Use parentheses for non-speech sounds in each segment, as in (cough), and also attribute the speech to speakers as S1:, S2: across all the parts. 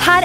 S1: her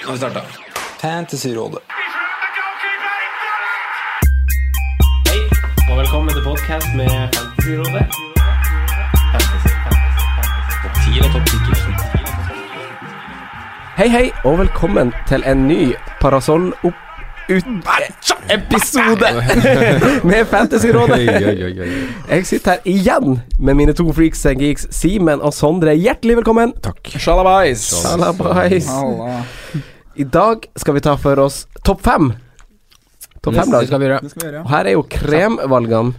S2: Nå har vi starta. Fantasyrådet.
S3: Hei, og velkommen til podcast med Fantasyrådet. Topp 10 og topp 10. Hei, hei, og velkommen til en ny Parasoll opp... Ut... Episode med Fantasyrådet. Jeg sitter her igjen med mine to freaks and geeks, Simen og Sondre. Hjertelig velkommen. Takk. Shalabais. I dag skal vi ta for oss topp fem. Topp fem, da. Og her er jo kremvalgene.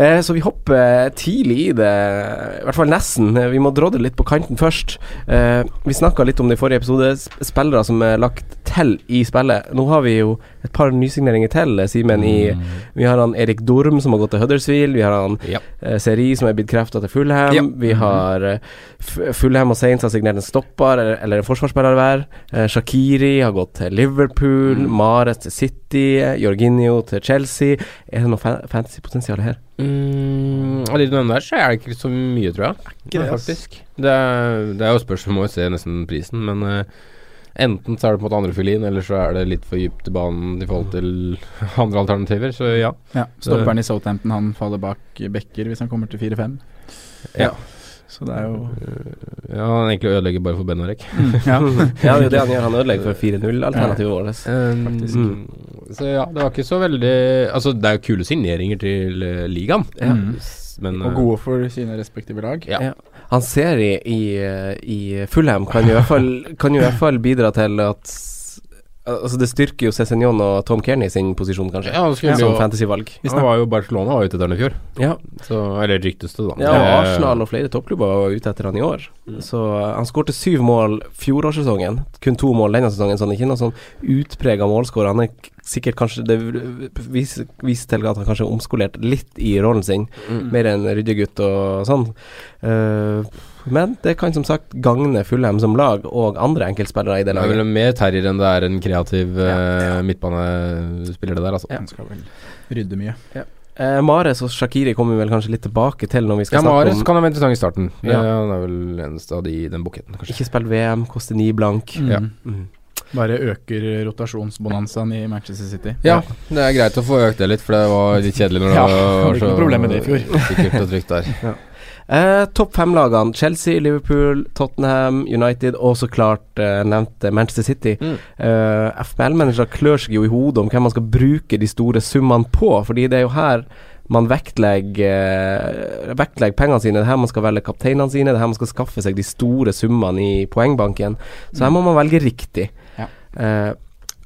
S3: Eh, så vi hopper tidlig i det, i hvert fall nesten. Vi må drodle litt på kanten først. Eh, vi snakka litt om det i forrige episode, sp- spillere som er lagt til i spillet. Nå har vi jo et par nysigneringer til, eh, Simen. i Vi har han Erik Dorm som har gått til Huddersfield. Vi har han eh, Seri som er blitt krefta til Fulham. Vi har eh, F- Fulham og Saints har signert en stopper eller, eller en forsvarsspiller hver. Eh, Shakiri har gått til Liverpool. Mares til City. Jorginho til Chelsea. Er det noe fa fantasypotensial her?
S4: Mm, av de du nevner der, så er det ikke så mye, tror jeg.
S5: det,
S4: Nei,
S5: ass.
S4: faktisk. Det er, det er jo spørsmål, må jo se nesten prisen, men eh, enten så er det på en måte andrefilin, eller så er det litt for dypt i banen i forhold til (laughs) andre alternativer, så ja.
S6: Ja, Stopperen i Southampton han faller bak Becker hvis han kommer til 4-5.
S4: Ja.
S6: Så det er jo
S4: ja han egentlig ødelegger bare for Benarek.
S6: (laughs) ja.
S4: (laughs) Ja,
S6: det
S4: er jo det han gjør,
S6: han
S4: ødelegger
S6: for
S4: 4-0-alternativet vårt.
S6: Faktisk.
S4: Um, så ja, det var ikke så veldig Altså, det er jo kule signeringer til eh, ligaen,
S6: Mm.
S4: men
S6: Og
S4: eh,
S6: gode for sine respektive lag.
S4: Ja.
S5: Han ser i, i, i Fulham kan jo, i hvert fall, kan jo i hvert fall bidra til at Altså Det styrker jo Cézignon og Tom Kearney sin posisjon, kanskje,
S4: ja, det skulle bli
S5: som
S4: jo
S5: fantasyvalg.
S4: eh, Han var jo Barcelona var ute etter han i fjor.
S5: Ja.
S4: Så, eller ryktes det, da.
S5: Ja, og
S4: Eh,
S5: Arsenal og flere toppklubber var ute etter han i år.
S4: Mm.
S5: Så eh, han skårte syv mål fjorårssesongen. Kun to mål denne sesongen, så han er ikke noen sånn utprega målskårer. Han er k- sikkert kanskje Det viser, viser til at han kanskje er omskolert litt i rollen sin,
S4: Mm.
S5: mer enn ryddegutt og sånn. Eh, men det kan som sagt gagne Fulham som lag, og andre enkeltspillere i det
S4: Det er
S5: laget.
S4: vel mer terrier enn det er en kreativ eh, midtbanespiller, det der, altså.
S6: Han skal vel rydde mye.
S5: Eh, Mares og Shakiri kommer vi vel kanskje litt tilbake til når vi skal
S4: Ja,
S5: snakke
S4: Marius
S5: om
S4: kan ha vært interessant i starten. Det
S5: Ja.
S4: Han er vel eneste av de i den buketten, kanskje.
S5: Ikke spill VM, koste ni blank.
S6: Mm.
S4: Ja.
S5: Mm.
S6: Bare øker rotasjonsbonanzaen i Manchester City.
S4: Ja, (laughs) det er greit å få økt det litt, for det var litt kjedelig når
S6: Ja,
S4: det
S6: hadde
S4: var
S6: ikke noe problem med det i fjor.
S4: (laughs) sikkert og trygt der.
S5: Eh, topp fem-lagene Chelsea, Liverpool, Tottenham, United og så klart eh, nevnte Manchester City.
S4: Mm.
S5: Eh, FPL-mennesker klør seg jo i hodet om hvem man skal bruke de store summene på, fordi det er jo her man vektlegger, eh, vektlegger pengene sine. Det er her man skal velge kapteinene sine, det er her man skal skaffe seg de store summene i poengbanken. Så her må man velge riktig.
S6: Ja.
S5: Eh,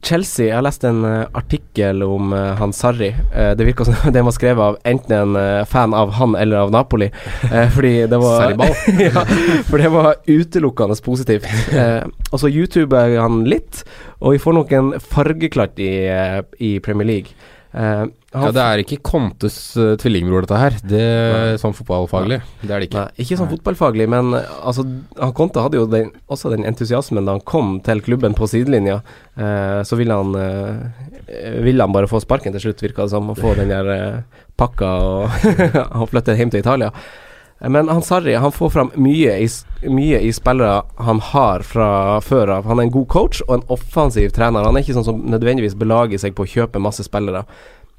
S5: Chelsea, jeg har lest en eh, artikkel om eh, han Sarri. Eh, det virka som (laughs) det var skrevet av enten en eh, fan av han eller av Napoli. Eh, fordi det var
S4: Sarri Ball.
S5: (laughs) ja, for det var utelukkende positivt. Eh, og så YouTuber han litt, og vi får nok en fargeklatt i, eh, i Premier League. Eh,
S4: Ja,
S5: han,
S4: det er ikke Contes eh, tvillingbror, dette her. Det er Sånn fotballfaglig. Det er det ikke.
S5: Nei, ikke sånn fotballfaglig, men eh, altså, han Conte hadde jo den, også den entusiasmen da han kom til klubben på sidelinja. Eh, så ville han, eh, ville han bare få sparken til slutt, virka det som. Og få den der eh, pakka og, (laughs) og flytte hjem til Italia. Eh, Men han Sarri han får fram mye i, s- mye i spillere han har fra før av. Han er en god coach og en offensiv trener. Han er ikke sånn som nødvendigvis belager seg på å kjøpe masse spillere.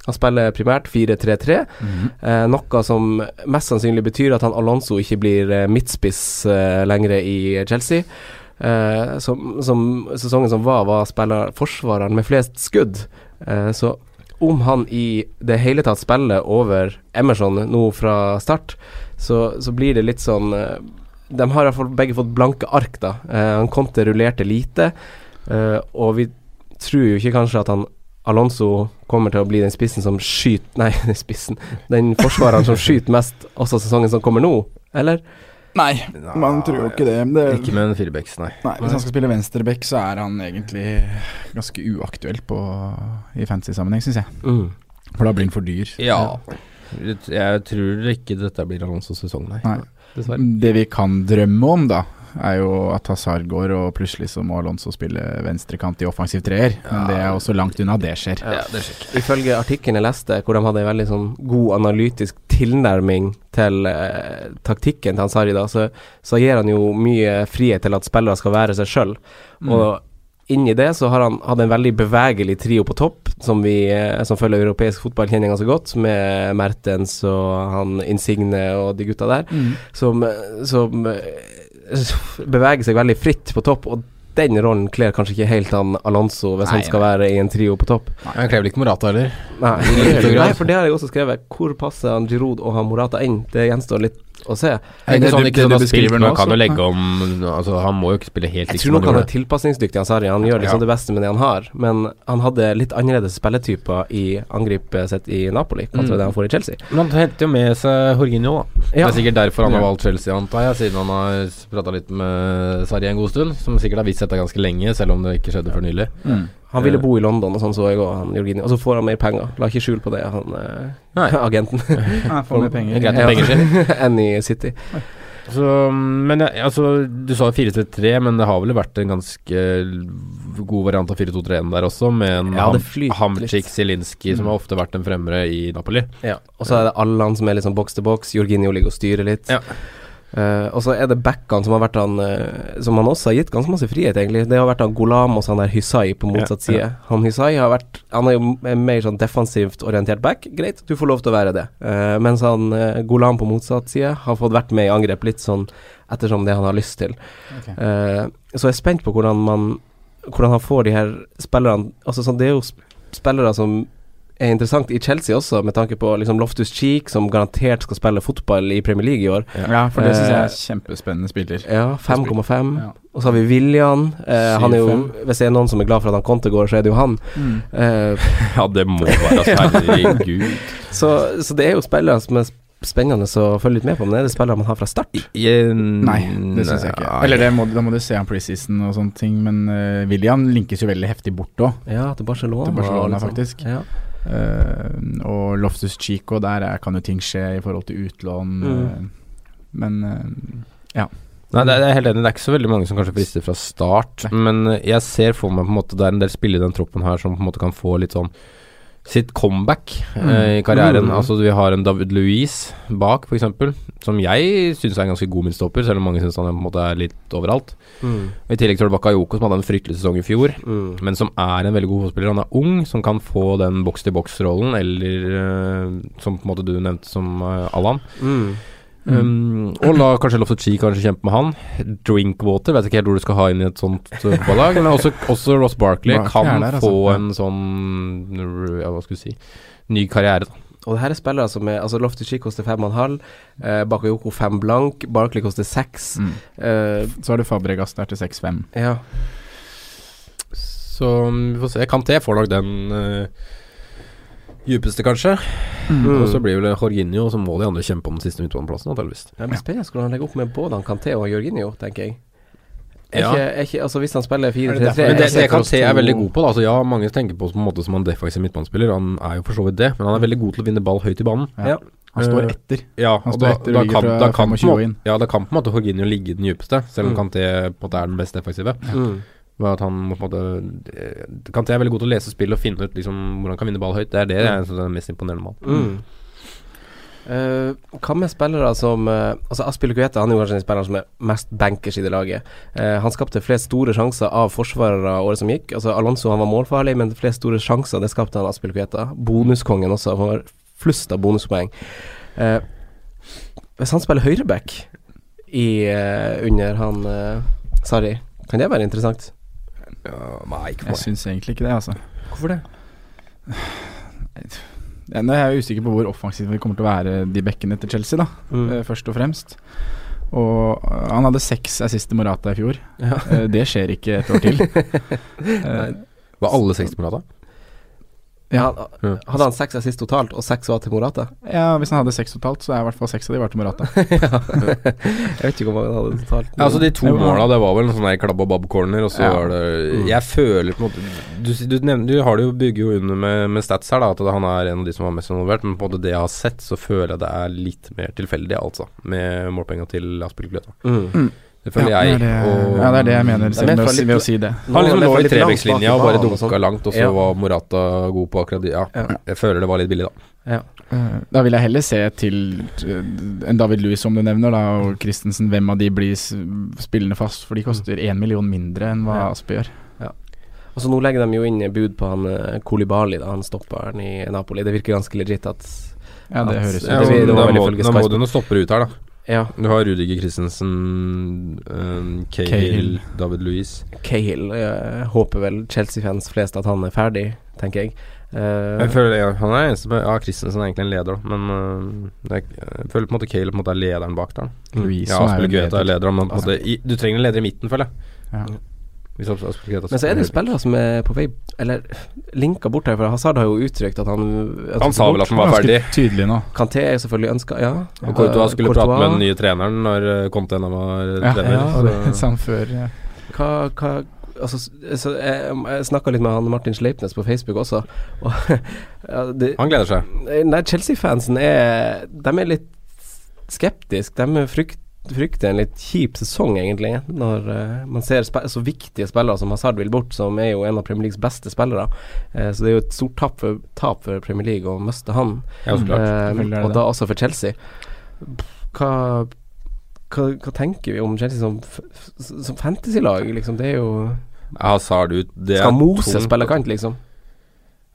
S5: Han spiller primært 4-3-3, eh, noe som mest sannsynlig betyr at han Alonso ikke blir eh, midtspiss eh, lenger i Chelsea. Eh, som, som sesongen som var, var spiller forsvareren med flest skudd. Eh, så om han i det hele tatt spiller over Emerson nå fra start, så, så blir det litt sånn eh, De har i hvert fall begge fått blanke ark, da. Eh, han Conte rullerte lite, eh, og vi tror jo ikke kanskje at han Alonso kommer til å bli den spissen som skyter Nei, (laughs) den spissen Den forsvareren som skyter mest også sesongen som kommer nå, eller?
S6: Nei, man tror jo ikke det. men det
S4: Ikke med en firebacks, nei.
S6: Nei, Hvis han skal spille venstreback, så er han egentlig ganske uaktuell på, i fantasy-sammenheng, syns jeg.
S5: Mm.
S6: For da blir han for dyr.
S4: Ja. Jeg tror ikke dette blir Alonsos sesong, nei.
S6: Nei.
S4: Dessverre.
S6: Det vi kan drømme om, da, er jo at Hazard går, og plutselig så må Alonso spille venstrekant i offensiv treer. Men det er også langt unna det skjer.
S4: Ja, det er sikkert.
S5: Ifølge artikkelen jeg leste, hvor de hadde en veldig sånn god analytisk tilnærming til eh, taktikken til Ansari, da, så, så gir han jo mye frihet til at spillere skal være seg sjøl.
S6: Mm.
S5: Og inni det så har han hatt en veldig bevegelig trio på topp, som, vi, eh, som følger europeisk fotball kjenner ganske godt, med Mertens og han Insigne og de gutta der,
S6: Mm.
S5: som, som eh, beveger seg veldig fritt på topp. og den rollen kler kanskje ikke helt han Alonso, hvis
S6: Nei,
S5: han skal være i en trio på topp.
S4: Nei, Han krever ikke Morata heller.
S5: (laughs) Nei.
S4: grad.
S5: Nei, for det har jeg også skrevet. Hvor passer han Giroud og han Morata inn? Det gjenstår litt å se.
S4: Det er
S6: Det
S4: ikke
S6: du-
S4: sånn, ikke sånn
S6: det du
S4: at han
S6: beskriver
S4: spiller
S6: nå
S4: nå, kan
S6: også.
S4: jo legge om Altså, han må jo ikke spille helt
S5: Jeg
S4: likt
S5: tror
S4: som
S5: nok
S4: han
S5: han
S4: gjorde.
S5: er tilpasningsdyktig, han Sarri. Han gjør liksom
S4: Ja.
S5: det beste med det han har. Men han hadde litt annerledes spilletyper i angrepet sitt i Napoli kontra
S4: Mm.
S5: det han får i Chelsea.
S4: Men han henter jo med seg Jorginho, da.
S5: Ja.
S4: Det er sikkert derfor han har
S6: Ja.
S4: valgt Chelsea, antar jeg, siden han har prata litt med Sarri en god stund. Som sikkert har visst dette ganske lenge, selv om det ikke skjedde før nylig.
S5: Han ville bo i London, og sånn så jeg òg, han Jorginho. Og så får han mer penger. La ikke skjul på det, han
S4: Nei.
S5: eh, (laughs) agenten.
S6: Får mer
S5: (laughs)
S4: Det er
S6: penger.
S4: greit med penger sin.
S5: Enn i City.
S4: Så, men jeg- altså, du sa 4-3-3, men det har vel vært en ganske god variant av 4-2-3-en der også, med en
S5: Ja,
S4: ham
S5: det flyter
S4: Hamchik
S5: litt.
S4: Zielinski, som har ofte vært en fremre i Napoli.
S5: Ja. Og så er det Allan som er liksom box to box. Jorginho ligger og styrer litt.
S4: Ja.
S5: Eh, og så er det backene som har vært han eh, Som han også har gitt ganske masse frihet, egentlig. Det har vært han Golam og så han der Hysai på motsatt
S4: Ja, ja.
S5: side. Han Hysai har vært Han er jo m- en mer sånn defensivt orientert back. Greit, du får lov til å være det. Eh, mens han eh, Golam på motsatt side har fått vært med i angrep litt sånn ettersom det han har lyst til. Eh, så jeg er spent på hvordan man Hvordan han får de her spillerne Altså sånn, det er jo sp- spillere som er interessant i Chelsea også, med tanke på liksom Loftus Cheek, som garantert skal spille fotball i Premier League i år.
S6: Ja, for det syns
S4: Eh,
S6: jeg er kjempespennende spiller.
S5: Ja, 5,5.
S4: mm.
S6: Ja.
S5: Og så har vi William. Eh, han er jo,
S6: 7,5.
S5: hvis det er noen som er glad for at han Conte går, så er det jo han.
S6: Mm.
S5: Eh,
S4: (laughs) Ja, det må være altså, herregud.
S5: så, så det er jo spillere som er spennende å følge litt med på. Men er det spillere man har fra start?
S6: Nei, det syns jeg ikke. Eller det må, da må du se han preseason og sånne ting, men eh, William linkes jo veldig heftig bort òg.
S5: Ja, til Barcelona.
S6: Til Barcelona,
S5: og litt sånn.
S6: faktisk.
S5: Ja.
S6: Eh, og Loftus Chico, der er, kan jo ting skje i forhold til utlån.
S5: Mm.
S6: eh, men eh,
S4: Nei, det er, jeg er helt enig. Det er ikke så veldig mange som kanskje frister fra start. Men eh, jeg ser for meg på en måte det er en del spillere i den troppen her som på en måte kan få litt sånn sitt comeback eh, i karrieren.
S5: Mm.
S4: Altså Vi har en David Louise bak, f.eks., som jeg syns er en ganske god midtstopper, selv om mange syns han er på en måte er litt overalt.
S5: Mm.
S4: I tillegg til Bakayoko, som hadde en fryktelig sesong i fjor.
S5: Mm.
S4: Men som er en veldig god fotballspiller. Han er ung, som kan få den boks-til-boks-rollen, eller eh, som på en måte du nevnte som eh, Allan.
S5: Mm.
S4: Um, og la kanskje Loftus Cheek kanskje kjempe med han. Drinkwater vet ikke helt hvor du skal ha inn i et sånt uh, fotballag. Men også, også Ross Barkley
S6: Barkley
S4: kan
S6: er der, altså.
S4: få
S6: Ja.
S4: en sånn ja, Hva skal du si Ny karriere, da.
S5: Og det her er spillere som er Altså Loftus Cheek koster 5,5. Eh, Bakayoko 5 blank. Barkley koster 6.
S6: Mm.
S5: Eh,
S6: så har du Fabregas der til 6-5.
S5: ja.
S4: Så um, vi får se. Kanté får nok den uh, djupeste, kanskje.
S6: Mm.
S4: Og så blir vel Jorginho, og så må de andre kjempe om den siste midtbaneplassen, antakeligvis.
S5: Det blir spennende hvordan han legger opp med både han Kanté og Jorginho, tenker jeg. Er
S4: Ja.
S5: ikke, er ikke, altså Hvis han spiller 4-3-3
S6: Er det derfor-
S4: Men det,
S5: jeg ser
S4: det
S5: for
S4: kan
S5: oss
S4: se jeg er
S5: to-
S4: veldig god på. Da. Altså, ja, mange tenker på oss på en måte som en defensiv midtbanespiller. Han er jo for så vidt det, men han er veldig god til å vinne ball høyt i banen.
S5: Ja.
S4: Eh,
S6: Han står etter.
S4: Ja,
S6: Han
S4: og
S6: står
S4: da,
S6: etter og
S4: da,
S6: ligger
S4: kan,
S6: fra
S4: da, kan på
S6: 25
S4: en måte-
S6: inn.
S4: ja, da kan på en måte Jorginho ligge i den djupeste, selv om
S5: Mm.
S4: Kanté på en måte er den best defensive.
S5: Mm.
S4: Bare at han må på en måte eh, Kanté er veldig god til å lese spill og finne ut liksom, hvor han kan vinne ball høyt. Det er det
S6: Mm.
S4: jeg synes er den mest imponerende med han.
S5: Mm. Eh, hva med spillere som eh, Altså Aspilicueta han er jo kanskje den spilleren som er mest bankers i det laget. Eh, han skapte flest store sjanser av forsvarere året som gikk. Altså Alonso han var målfarlig, men flest store sjanser det skapte han Aspilicueta. Bonuskongen også. Han var flust av bonuspoeng. Eh, hvis han spiller høyreback i, eh, under han eh, Sarri, kan det være interessant?
S4: nei, ikke
S6: Jeg syns egentlig ikke det, altså.
S5: Hvorfor det?
S6: Ja, nå er jeg usikker på hvor offensive det kommer til å være de bekkene til Chelsea, da.
S5: Mm.
S6: eh, Først og fremst. Og eh, han hadde seks assist til Morata i fjor. Eh, Det skjer ikke et
S4: (laughs)
S6: år til. Eh,
S4: Var alle 60 på rad, da?
S6: ja.
S5: Han- Hadde han seks assist totalt, og seks var til Morata?
S6: ja, hvis han hadde seks totalt, så er i hvert fall seks av de var til Morata.
S5: (laughs) Jeg vet ikke hvor mange han hadde totalt.
S4: Ja, altså De to
S6: Det var-
S4: måla, det var vel en sånn der klabb og babb-corner, og så
S6: Ja.
S4: var det Jeg føler på en måte Du, du, nevner, du har det jo bygger jo under med, med stats her, da, at han er en av de som var mest involvert, men på en måte det jeg har sett, så føler jeg det er litt mer tilfeldig, altså, med målpenga til Aspil Gløta.
S5: Mm.
S4: Det føler
S6: ja,
S4: jeg.
S6: det er det,
S4: og-
S6: ja, det er det jeg mener,
S5: Det er mer
S6: selv med å,
S5: fra
S6: si-
S5: litt-
S6: ved å si det.
S4: Han liksom
S5: Nå var det litt
S4: lå i
S5: langt bak i
S4: trebekslinja og bare
S5: banen og
S4: dunka
S5: sånn.
S4: langt, og så
S5: Ja.
S4: var Morata god på akkurat det. Ja, jeg føler det var litt billig, da.
S6: Eh, Da vil jeg heller se til eh, en David Louis, som du nevner, da, og Christensen. Hvem av de blir s- spillende fast? For de koster én million mindre enn hva
S5: Ja.
S6: Aspe gjør.
S5: Og så Altså, nå legger de jo inn bud på han eh, Kolibali, da, han stopperen i Napoli. Det virker ganske legit at
S6: Ja, det
S5: Ja,
S6: høres
S5: Ja,
S6: ut
S5: det
S6: som
S5: var
S4: da,
S5: vel
S4: må,
S5: ifølge
S4: da
S5: Sky
S4: må du nå stoppe ut her, da.
S5: Ja,
S4: Du har Rudiger Christensen, eh, Cahill,
S6: Cahill.
S4: David Louise
S5: Cahill eh, håper vel Chelsea-fans flest at han er ferdig, tenker jeg. Eh,
S4: Jeg føler ja, Han er eneste Ja, Christensen er egentlig en leder, da, men eh, det er, jeg føler på en måte Cahill på en måte er lederen bak der. da.
S6: Louise
S4: Ja,
S6: som er jo
S4: Aspel Guetta er leder,
S6: leder.
S4: Altså- men på en måte, i, du trenger en leder i midten, føler jeg.
S6: Ja.
S4: Hvis Aspel- Aspel Guetta
S5: men så er det jo spillere
S4: spiller-
S5: som er på vei Eller linka bort her, for Hazard har jo uttrykt at han at
S4: Han sa vel at han var
S6: Ganske
S4: ferdig.
S6: tydelig nå.
S5: Kanté er jo selvfølgelig ønska, ja. Eh,
S4: Og Courtois skulle
S5: Courtois.
S4: prate med den nye treneren når eh, Conte ennå var
S6: Ja,
S4: trener.
S6: ja,
S4: så-
S6: det sa han før. Ja.
S5: hva, hva Altså, s- så jeg, jeg snakka litt med han Martin Sleipnes på Facebook også, og (laughs) ja, det,
S4: Han gleder seg.
S5: Eh, Nei, Chelsea-fansen er De er litt skeptiske. De frykt, frykter en litt kjip sesong, egentlig, når eh, man ser spe så viktige spillere som Hazard vil bort, som er jo en av Premier Leagues beste spillere. Eh, så det er jo et stort tap for, tap for Premier League å miste han,
S4: Ja, så klart.
S5: Eh,
S6: selvfølgelig er det
S5: og
S6: det.
S5: da også for Chelsea. Hva hva, hva tenker vi om Chelsea som, f- f- som fantasy-lag, liksom? Det er jo
S4: Hazard ut. Det
S5: Skal Mose
S4: tungt.
S5: spille kant, liksom?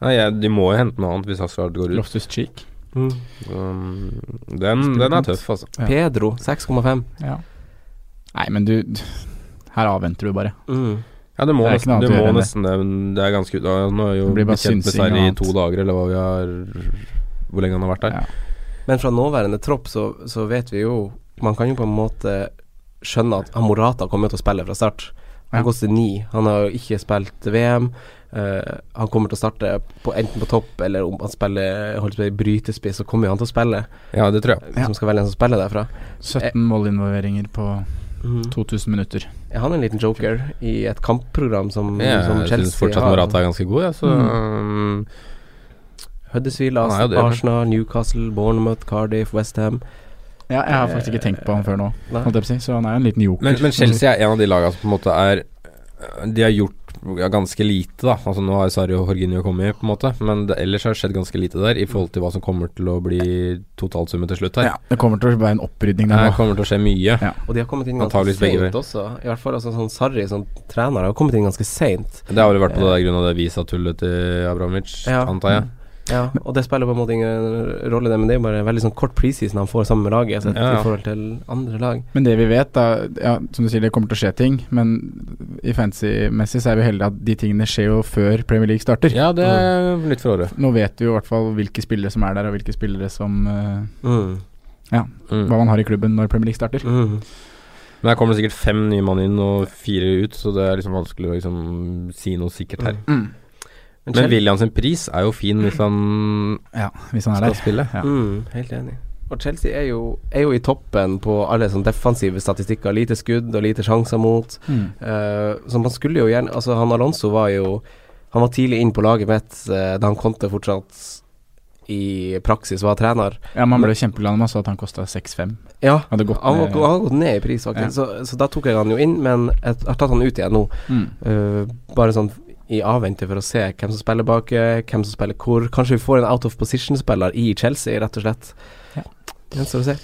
S4: Nei, jeg, de må jo hente noe annet hvis Hazard går ut.
S6: Loftus Cheek.
S4: Um, den,
S6: Spiller
S4: den er
S6: kant.
S4: tøff, altså.
S6: Ja.
S5: Pedro, 6,5.
S6: Ja. Nei, men du Her avventer du bare.
S5: Mm.
S4: Ja, det må
S6: Det er
S4: nesten
S6: ikke noe
S4: det.
S6: annet å
S4: Må
S6: gjøre enn det.
S4: nesten det, men det er ganske ja, Nå er jo
S6: Det blir bare
S4: blitt kjent med
S6: synsing og
S4: Sarri i
S6: annet.
S4: to dager, eller hva vi har Hvor lenge han har vært der.
S6: Ja.
S5: Men fra nåværende tropp så, så vet vi jo Man kan jo på en måte skjønne at han Morata kommer til å spille fra start. Han
S6: Ja.
S5: koster ni. Han har jo ikke spilt VM. Eh, han kommer til å starte på, enten på topp eller om han spiller holdt på å si brytespiss, så kommer jo han til å spille.
S4: Ja, det tror jeg.
S5: Hvis man skal velge en som spiller derfra.
S6: 17 målinvolveringer på 2000 minutter.
S5: Er han en liten joker i et kampprogram som,
S4: Jeg,
S5: som Mm,
S4: syns
S5: sånn Chelsea
S4: fortsatt
S5: har?
S4: Morata er ganske god, jeg,
S6: Mm.
S4: så um,
S5: Huddersfield,
S4: Han er jo det, men-
S5: Arsenal, Newcastle, Bournemouth, Cardiff, Westham.
S6: Ja, jeg har faktisk ikke tenkt på han før nå,
S5: Nei.
S6: holdt jeg på å si, så han er jo en liten joker.
S4: men, men Chelsea er en av de lagene som på en måte er De har gjort ja, ganske lite, da. Altså Nå har Sarri og Jorginho kommet, på en måte. Men det, ellers har det skjedd ganske lite der, i forhold til hva som kommer til å bli totalsummen til slutt her.
S6: Ja, det kommer til å være en opprydning
S4: Det
S6: der nå.
S4: kommer til å skje mye.
S5: Og de har kommet inn ganske
S4: Antageligvis begge
S5: seint også. I hvert fall altså, sånn Sarri som trener har kommet inn ganske seint.
S4: Det har vel vært på det der grunn av det visatullet til Abramovic,
S5: Ja.
S4: antar jeg.
S5: Ja, og det spiller på en måte ingen rolle, det, men det er jo bare en veldig sånn kort preseason han får sammen med laget, sett
S4: Ja, ja.
S5: i forhold til andre lag.
S6: Men det vi vet, da ja, Som du sier, det kommer til å skje ting, men i fancy-messig så er vi heldige at de tingene skjer jo før Premier League starter.
S4: Ja, det er Mm. litt for året.
S6: Nå vet vi jo i hvert fall hvilke spillere som er der, og hvilke spillere som eh,
S5: Mm.
S4: Mm.
S6: Hva man har i klubben når Premier League starter.
S5: Mm.
S4: Men her kommer det sikkert fem nye mann inn og fire ut, så det er liksom vanskelig å liksom si noe sikkert her.
S5: Men
S4: Men
S5: Chelsea-
S4: William sin pris er jo fin hvis han
S6: Ja, hvis han
S4: skal
S6: er der.
S4: spille.
S6: Ja.
S5: Mm, helt enig. Og Chelsea er jo, er jo i toppen på alle sånn defensive statistikker. Lite skudd og lite sjanser mot.
S6: Mm.
S5: Eh, så man skulle jo gjerne Altså, han Alonso var jo Han var tidlig inn på laget mitt eh, da han kom til fortsatt i praksis var trener.
S6: Ja, Man ble kjempeglad når man så at han kosta 6-5.
S5: Ja,
S6: Hadde gått
S5: han, var,
S6: ned-
S5: han har gått ned i pris, faktisk. Så, så da tok jeg han jo inn, men jeg har tatt han ut igjen nå.
S6: Mm.
S5: Eh, bare sånn i avvente for å se hvem som spiller bak, eh, hvem som spiller hvor. Kanskje vi får en out of position-spiller i Chelsea, rett og slett.
S6: Ja.
S5: Det gjenstår å se.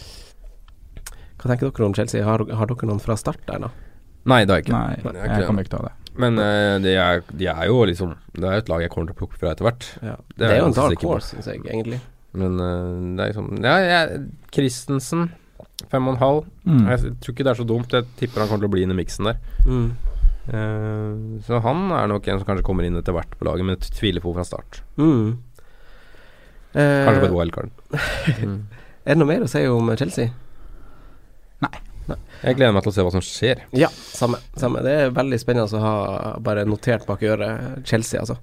S5: Hva tenker dere om Chelsea? Har, har dere noen fra start der, da?
S4: Nei, det har jeg ikke.
S6: Nei,
S4: Nei,
S6: jeg
S4: ok.
S6: kommer ikke til å ha det.
S4: Men eh, de, er, de er jo liksom Det er et lag jeg kommer til å plukke fra etter hvert.
S5: Det, er jo en
S4: ganske
S5: dark
S4: sikker på.
S5: horse, syns jeg, egentlig.
S4: Men eh, det er liksom Ja, jeg, Christensen. Fem og en halv.
S6: Mm.
S4: Jeg tror ikke det er så dumt. Jeg tipper han kommer til å bli inn i miksen der.
S5: Mm.
S4: Eh, så han er nok en som kanskje kommer inn etter hvert på laget, men jeg tviler på fra start.
S5: Mm.
S4: Kanskje på et wildcard.
S5: Er det noe mer å si om Chelsea?
S6: Nei.
S4: Jeg gleder meg til å se hva som skjer.
S5: Ja, samme. samme. Det er veldig spennende å ha bare notert bak øret Chelsea, altså.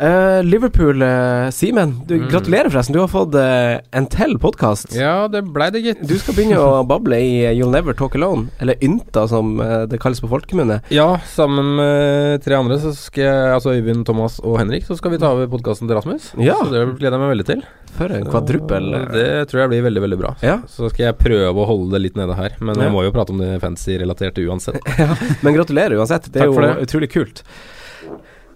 S5: Eh, Liverpool, eh, Simen. Du, Gratulerer, forresten. Du har fått eh, en til podkast.
S4: Mm. Ja, det blei det, gitt.
S5: Du skal begynne å (laughs) bable i eh, You'll Never Talk Alone, eller Ynta, som eh, det kalles på folkemunne.
S4: Ja, sammen med tre andre, så skal jeg, altså Øyvind, Thomas og Henrik, så skal vi ta over podkasten til Rasmus.
S5: Ja.
S4: Så det gleder jeg meg veldig til.
S5: For en kvadruppel.
S4: Og Det tror jeg blir veldig, veldig bra.
S5: Ja.
S4: Så skal jeg prøve å holde det litt nede her, men
S5: Ja.
S4: jeg må jo prate om det fancy-relaterte uansett.
S5: Men gratulerer uansett. Det er
S4: Takk
S5: jo
S4: for det.
S5: utrolig kult.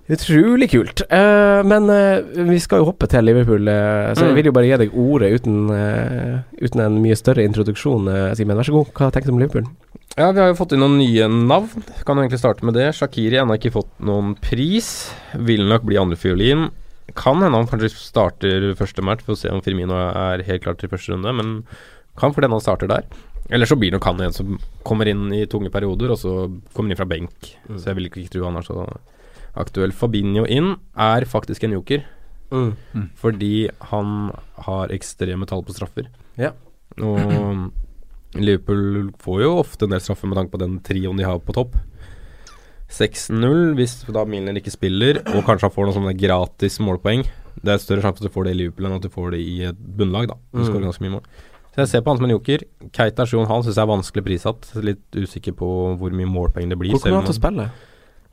S5: Utrolig kult. Eh, men eh, vi skal jo hoppe til Liverpool, eh, så
S4: Mm.
S5: jeg vil jo bare gi deg ordet uten, eh, uten en mye større introduksjon, eh, Simen. Vær så god. Hva tenker du om Liverpool?
S4: Ja, vi har jo fått inn noen nye navn. Kan jo egentlig starte med det. Shakiri har ennå ikke fått noen pris. Vil nok bli andrefiolin. Kan hende han kanskje starter første match, for å se om Firmino er helt klar til første runde, men kan for den han starter der. Eller så blir nok han en som kommer inn i tunge perioder, og så kommer inn fra benk. Så jeg vil ikke tro han er så aktuell. Fabinho inn er faktisk en joker,
S5: Mm.
S4: fordi han har ekstreme tall på straffer.
S5: Ja.
S4: Og Liverpool får jo ofte en del straffer med tanke på den trioen de har på topp. 6-0 hvis da Milner ikke spiller, og kanskje han får noen sånne gratis målpoeng. Det er større sjanse for at du får det i Liverpool enn at du får det i et bunnlag, da.
S5: Mm.
S4: Du skårer ganske mye mål. Så jeg ser på han som en joker. Keita 7,5 syns jeg er vanskelig prissatt. Litt usikker på hvor mye målpoeng det blir.
S5: Hvor kommer
S4: selv
S5: han til å
S4: om-
S5: spille?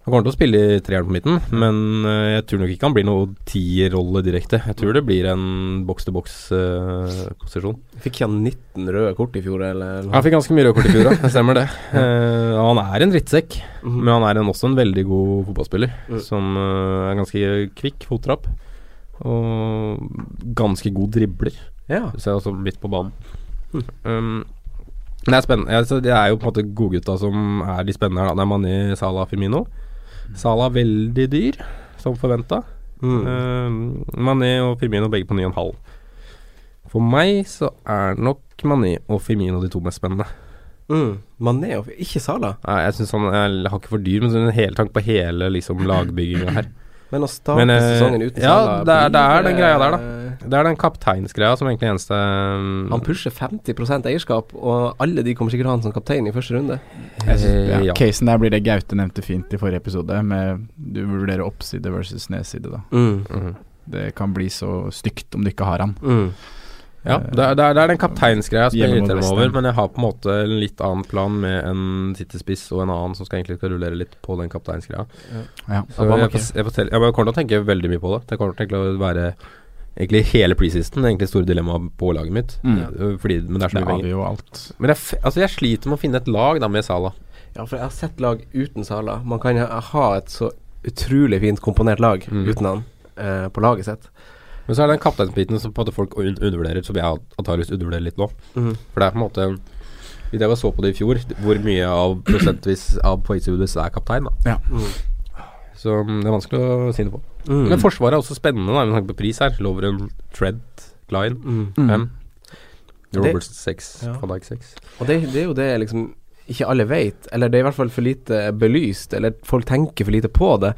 S4: han kommer til å spille i treeren på midten, men eh, jeg tror nok ikke han blir noe tierrolle direkte. Jeg tror det blir en eh, boks-til-boks-posisjon.
S5: Fikk han 19 røde kort i fjor, eller?
S4: Han fikk ganske mye rødkort i fjor, (laughs) ja. Det stemmer det. Mhm. Eh, han er en drittsekk, men han er en, også en veldig god fotballspiller. Som eh, er ganske kvikk fottrapp, og ganske god dribler.
S5: Ja.
S4: Så jeg er også litt på banen. Um, det er spennende. Altså, det er jo på en måte godgutta som er de spennende her. Da. Det er Mané, Salah, Firmino. Salah veldig dyr, som forventa.
S5: Hm. Mm.
S4: Um, Mané og Firmino begge på 9,5. For meg så er nok Mané og Firmino de to mest spennende.
S5: Mm. Mané og Ikke Sala.
S4: Nei, jeg syns han er hakket for dyr, men sånn hele tanke på hele liksom, lagbygginga her.
S5: Men å starte
S4: Men, eh,
S5: sesongen uten
S4: ja,
S5: Sala
S4: det er- det er
S5: eh,
S4: den greia der, da. Det er den kapteinsgreia som egentlig er eneste um,
S5: Han pusher 50 eierskap, og alle de kommer sikkert til å ha han som kaptein i første runde.
S4: eh,
S6: Ja,
S4: ja.
S6: Casen der blir det Gaute nevnte fint i forrige episode, med du vurderer oppside versus nedside, da.
S4: Mm.
S6: Det kan bli så stygt om du ikke har han.
S5: Mm.
S4: Ja, det er, det er, det er den kapteinsgreia som jeg
S6: Hjemme mot
S4: irriterer meg
S6: West Ham.
S4: over, men jeg har på en måte en litt annen plan med en sittespiss og en annen som skal egentlig skal rullere litt på den kapteinsgreia.
S6: Ja.
S4: Så jeg, får, jeg, får, telle- jeg kommer til å tenke veldig mye på det. Det kommer til å være egentlig hele preseason, egentlig store dilemmaet på laget mitt.
S6: Mm.
S4: Eh, Fordi, men det er så
S6: Det
S4: mye penger.
S6: avgjør jo alt.
S4: Men jeg, f- altså jeg sliter med å finne et lag da med Salah.
S5: Ja, for jeg har sett lag uten Sala. Man kan ha- ha et så utrolig fint komponert lag
S4: Mm.
S5: uten han eh, på laget sitt.
S4: Men så er det den kapteinsbiten som på en måte folk un undervurderer, som jeg antakeligvis undervurderer litt nå.
S6: Mm.
S4: For det er på en måte Vi drev og så på det i fjor, hvor mye av prosentvis av poengtilbudet er kaptein, da.
S6: Ja.
S4: Så mm, det er vanskelig å si noe på. Men Forsvaret er også spennende, da, med tanke på pris her. Lovren, Trent, Line,
S5: mm.
S6: Mm.
S4: fem. Roberts seks, van Dijk seks.
S5: Og det, det er jo det liksom ikke alle vet, eller det er i hvert fall for lite belyst, eller folk tenker for lite på det,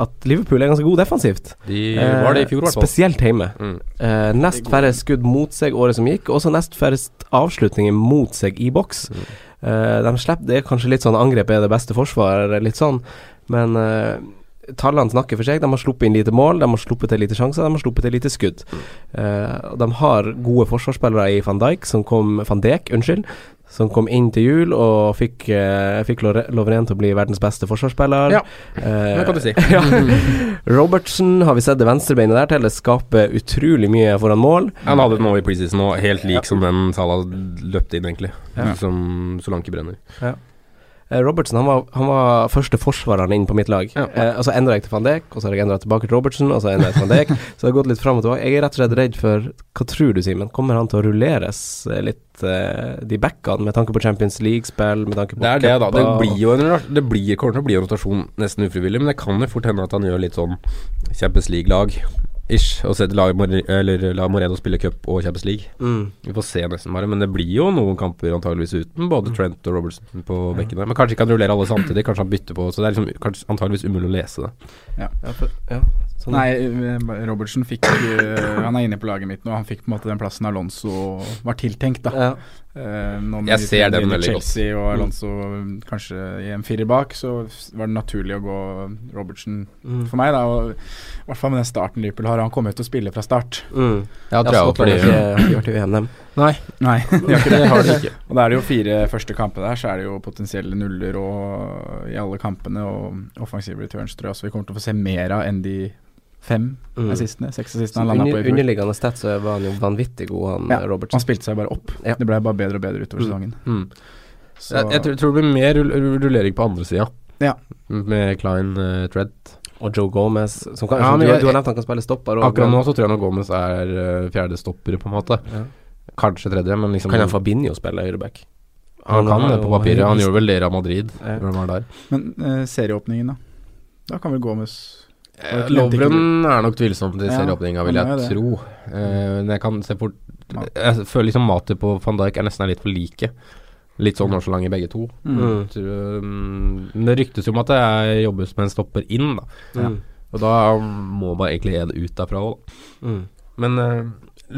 S5: at Liverpool er ganske god defensivt.
S4: De var det i fjor, i hvert fall.
S5: Spesielt hjemme.
S4: Mm.
S5: Eh, nest færre skudd mot seg året som gikk, også nest færrest avslutninger mot seg i boks.
S4: Mm.
S5: Eh, de slipper, det er kanskje litt sånn angrep er det beste forsvar, litt sånn, men eh, tallene snakker for seg. De har sluppet inn lite mål, de har sluppet til lite sjanser, de har sluppet til lite skudd.
S4: Mm.
S5: Eh, og de har gode forsvarsspillere i van Dijk, som kom Van Dijk, unnskyld. Som kom inn til jul og fikk, eh, fikk Lore- Lovren til å bli verdens beste forsvarsspiller.
S4: Ja,
S5: Eh,
S4: det kan du si.
S5: (laughs) ja. Robertsen har vi sett det venstrebeinet der til. Det skaper utrolig mye foran mål.
S4: Han hadde den nå i preseason og helt lik som den Salah løpte inn, egentlig.
S6: Ja.
S4: Som Solanke brenner.
S5: Eh, Robertsen han var, han var første forsvareren inn på mitt lag.
S4: Ja.
S5: Eh, og så endra jeg til van Dijk, og så har jeg endra tilbake til Robertsen, og så endra jeg til van
S4: (laughs)
S5: Dijk. så det har gått litt fram og tilbake. Jeg er rett og slett redd for Hva tror du, Simen? Kommer han til å rulleres eh, litt eh, de backene, med tanke på Champions League-spill, med tanke på
S4: Det er det, da. Det
S5: cuper og-
S4: blir jo en, det blir, kommer til å bli en rotasjon nesten ufrivillig, men det kan jo fort hende at han gjør litt sånn Champions League-lag. Ish, og setter lag, More- eller la Moreno spille cup og Champions League.
S5: mm.
S4: Vi får se nesten bare, men det blir jo noen kamper antageligvis uten både Trent og Robertson på bekkene. Men kanskje ikke han rullerer alle samtidig, kanskje han bytter på, så det er liksom kanskje, antageligvis umulig å lese det.
S5: Ja, for, ja.
S6: Sånn. Nei, Robertsen fikk eh, Han er inne på laget mitt nå. Han fikk på en måte den plassen Alonso var tiltenkt, da. Eh, Ja.
S4: Når jeg ser den veldig
S6: Chelsea godt. og Alonso mm. kanskje i en firer bak, så var det naturlig å gå Robertsen mm. for meg. da og, I hvert fall med den starten Liverpool har. Han kommer jo til å spille fra start.
S4: Mm. Ja, tror jeg
S5: også.
S4: altså.
S5: Ikke, de har til VM, dem.
S6: Nei, Nei (laughs) de har ikke det.
S4: det har de ikke.
S6: og da er det jo fire første kamper der, så er det jo potensielle nuller og, i alle kampene. Og offensive returns tror jeg også vi kommer til å få se mer av enn de fem mm. assistene. Seks assistene han
S5: under, Underliggende stats så var han jo vanvittig god, han ja, Robertsen.
S6: Han spilte seg bare opp. Ja. Det ble bare bedre og bedre utover sesongen. Mm.
S4: Jeg, jeg, tror, det blir mer rullering på andre sida,
S6: ja.
S4: med Klein uh, Tread.
S5: Og Joe Gomez som kan, ja, men, du, du, har nevnt han kan spille stopper.
S4: Og, akkurat nå så tror jeg nok Gomez er uh, fjerdestopper, på en måte. Kanskje tredje, men liksom
S5: Kan han Fabinho spille høyreback?
S4: Han, han kan det på papiret. Han gjorde vel det av Madrid.
S6: Men uh, serieåpningen, da? Da kan vel Gomez
S4: Eh, Lovren er nok tvilsom til serieåpninga, vil jeg ja, tro. Eh, men jeg kan se fort Jeg føler liksom matet på van Dijk er nesten litt for like. Litt sånn årslang i begge to. Mm. Tror, men det ryktes jo om at det er jobbes med en stopper inn, da. Mm. Og da um, må bare egentlig en ut derfra òg, da. Mm. Men eh,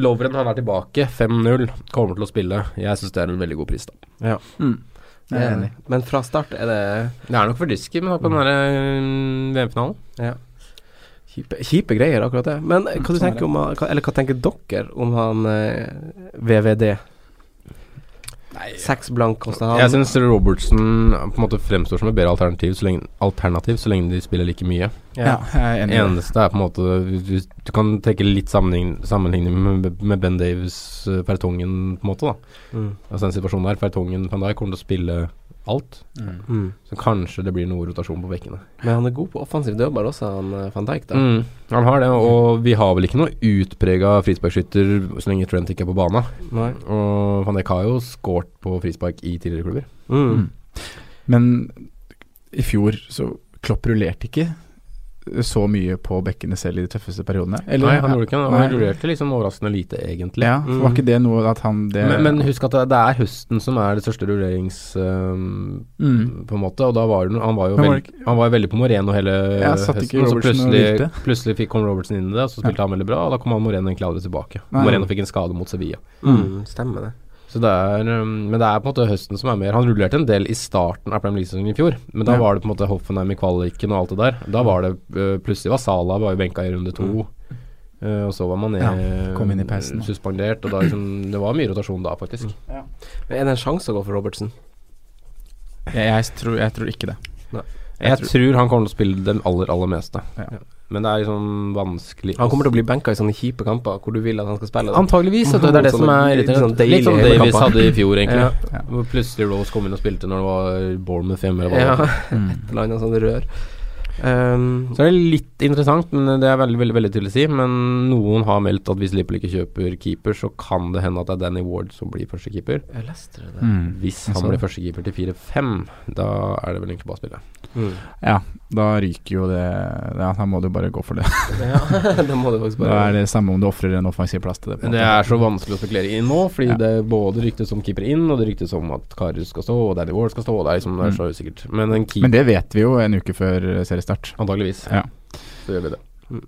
S4: Lovren han er tilbake. 5-0. Kommer til å spille. Jeg syns det er en veldig god pris, da.
S5: Ja. Jeg er enig. Eh, Men fra start er det
S4: Det er nok for risky med på den mm. VM-finalen.
S5: Ja. Kjipe, kjipe, greier, akkurat Sånn det. Men hva, du tenker, om, eller, hva tenker dere om han eh, VVD? Nei, Seks blank koster han.
S4: Jeg syns Robertsen på en måte fremstår som et bedre alternativ så lenge, alternativ, så lenge de spiller like mye.
S6: Ja, jeg er enig.
S4: Eneste er på en måte Du, du kan tenke litt sammenligning, sammenligning med, med, Ben Davies, uh, Fertongen, på en måte. da. Mm. Altså den situasjonen der. Fertongen van Dijk kommer til å spille alt. Mm. Så kanskje det blir noe rotasjon på bekkene.
S5: Men han er god på offensiv dødball også, han eh, van Dijk. da
S4: mm. Han har det, og vi har vel ikke noe utprega frisparkskytter så lenge Trent ikke er på banen. Nei. Og van Dijk har jo skåret på frispark i tidligere klubber. Mm.
S6: Men i fjor så Klopp rullerte ikke så mye på bekkene selv i de tøffeste periodene.
S4: Eller, nei, han gjorde ikke Han rullerte liksom overraskende lite, egentlig. Mm.
S6: Ja, Var ikke det noe at han det
S4: men, men husk at det er høsten som er det største rullerings... Um, mm. På en måte, og da var det, han var jo veld, han var veldig på Moreno hele ja, høsten. så plutselig, plutselig fikk, kom Robertsen inn i det, og så spilte ja. han veldig bra, og da kom han Moreno egentlig aldri tilbake. Nei. Moreno fikk en skade mot Sevilla.
S5: Mm, stemmer det.
S4: Så det er, um, men det er på en måte høsten som er mer Han rullerte en del i starten av Premier League-sesongen i fjor, men da ja. var det på en måte Hoffenheim i kvaliken og alt det der. Da var det uh, plutselig var Sala var jo benka i runde to, mm. uh, og så var man ja,
S6: uh,
S4: suspendert. Og da liksom, det var mye rotasjon da, faktisk. Mm. Ja.
S5: Men Er det en sjanse å gå for Robertsen?
S6: Jeg, jeg, tror, jeg tror, ikke det.
S4: Nei. Jeg, jeg tror, tror, han kommer til å spille den aller, aller meste. Ja. Men det er liksom vanskelig
S5: Han kommer til å bli benka i sånne kjipe kamper hvor du vil at han skal spille. Mm.
S4: Antageligvis, det er det som er irriterende. Litt, litt sånn Davies hadde i fjor, egentlig. ja. Ja. Plutselig Rose kom inn og spilte når det var Bournemouth 5 eller
S5: hva
S4: (laughs)
S5: det ja. Mm. Et eller annet sånt rør.
S4: Um,
S5: Mm.
S4: så er det litt interessant, men det er veldig veldig, veldig til å si. Men noen har meldt at hvis Liverpool ikke kjøper keeper, så kan det hende at det er Danny Ward som blir første keeper.
S5: Jeg leste det. det.
S4: Mm. Hvis han
S6: Altså-
S4: blir første keeper til 4-5, da er det vel egentlig bare å spille.
S6: Mm. Ja, da ryker jo det Ja, da må du bare gå for det.
S5: ja, da må du faktisk bare
S6: Da er det samme om du ofrer en offensiv plass til det.
S4: Det er så vanskelig å spekulere inn nå, fordi ja. det både ryktes om keeper inn, og det ryktes om at Karius skal stå, og Danny Ward skal stå, og det er liksom det er så usikkert. Men,
S6: Mm. Men, det vet vi jo en uke før serien seriestart.
S4: Antageligvis.
S6: Ja.
S4: Så gjør vi det. Mm.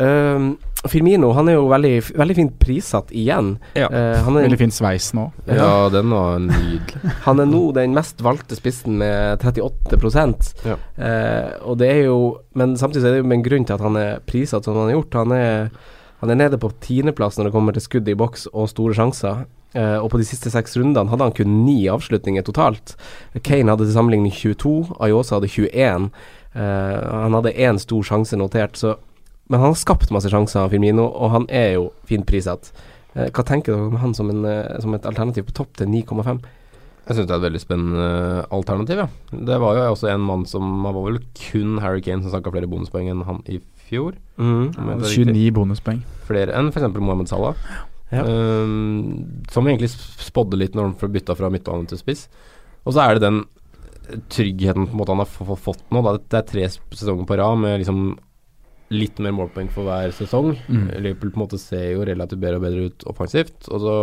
S5: Uh, Firmino han er jo veldig, veldig fint prissatt igjen.
S6: Ja.
S5: Eh,
S6: Uh, en, veldig fin sveis nå.
S4: Ja, ja den var nydelig.
S5: han er nå den mest valgte spissen med 38 ja. Uh, og det er jo Men samtidig er det jo en grunn til at han er prissatt som han har gjort. Han er, han er nede på tiendeplass når det kommer til skudd i boks og store sjanser. Uh, og på de siste seks rundene hadde han kun ni avslutninger totalt. Kane hadde til sammenligning 22, Ayosa hadde 21. Uh, han hadde én stor sjanse notert, så Men han har skapt masse sjanser, Firmino, og han er jo fint prissatt. Uh, hva tenker dere om han som, en, eh, som et alternativ på topp til 9,5?
S4: Jeg syns det er et veldig spennende alternativ, ja. Det var jo også en mann som Han var vel kun Harry Kane som snakka flere bonuspoeng enn han i fjor.
S6: Mm. 29 bonuspoeng.
S4: Flere enn f.eks. Mohammed Salah. Ja. Um, som vi egentlig spådde litt når han bytta fra midtbane til spiss. Og så er det den tryggheten på en måte han har fått nå. Da. Det er tre sesonger på rad med liksom litt mer målpoeng for hver sesong. Mm. Liverpool på en måte ser jo relativt bedre og bedre ut offensivt. Og så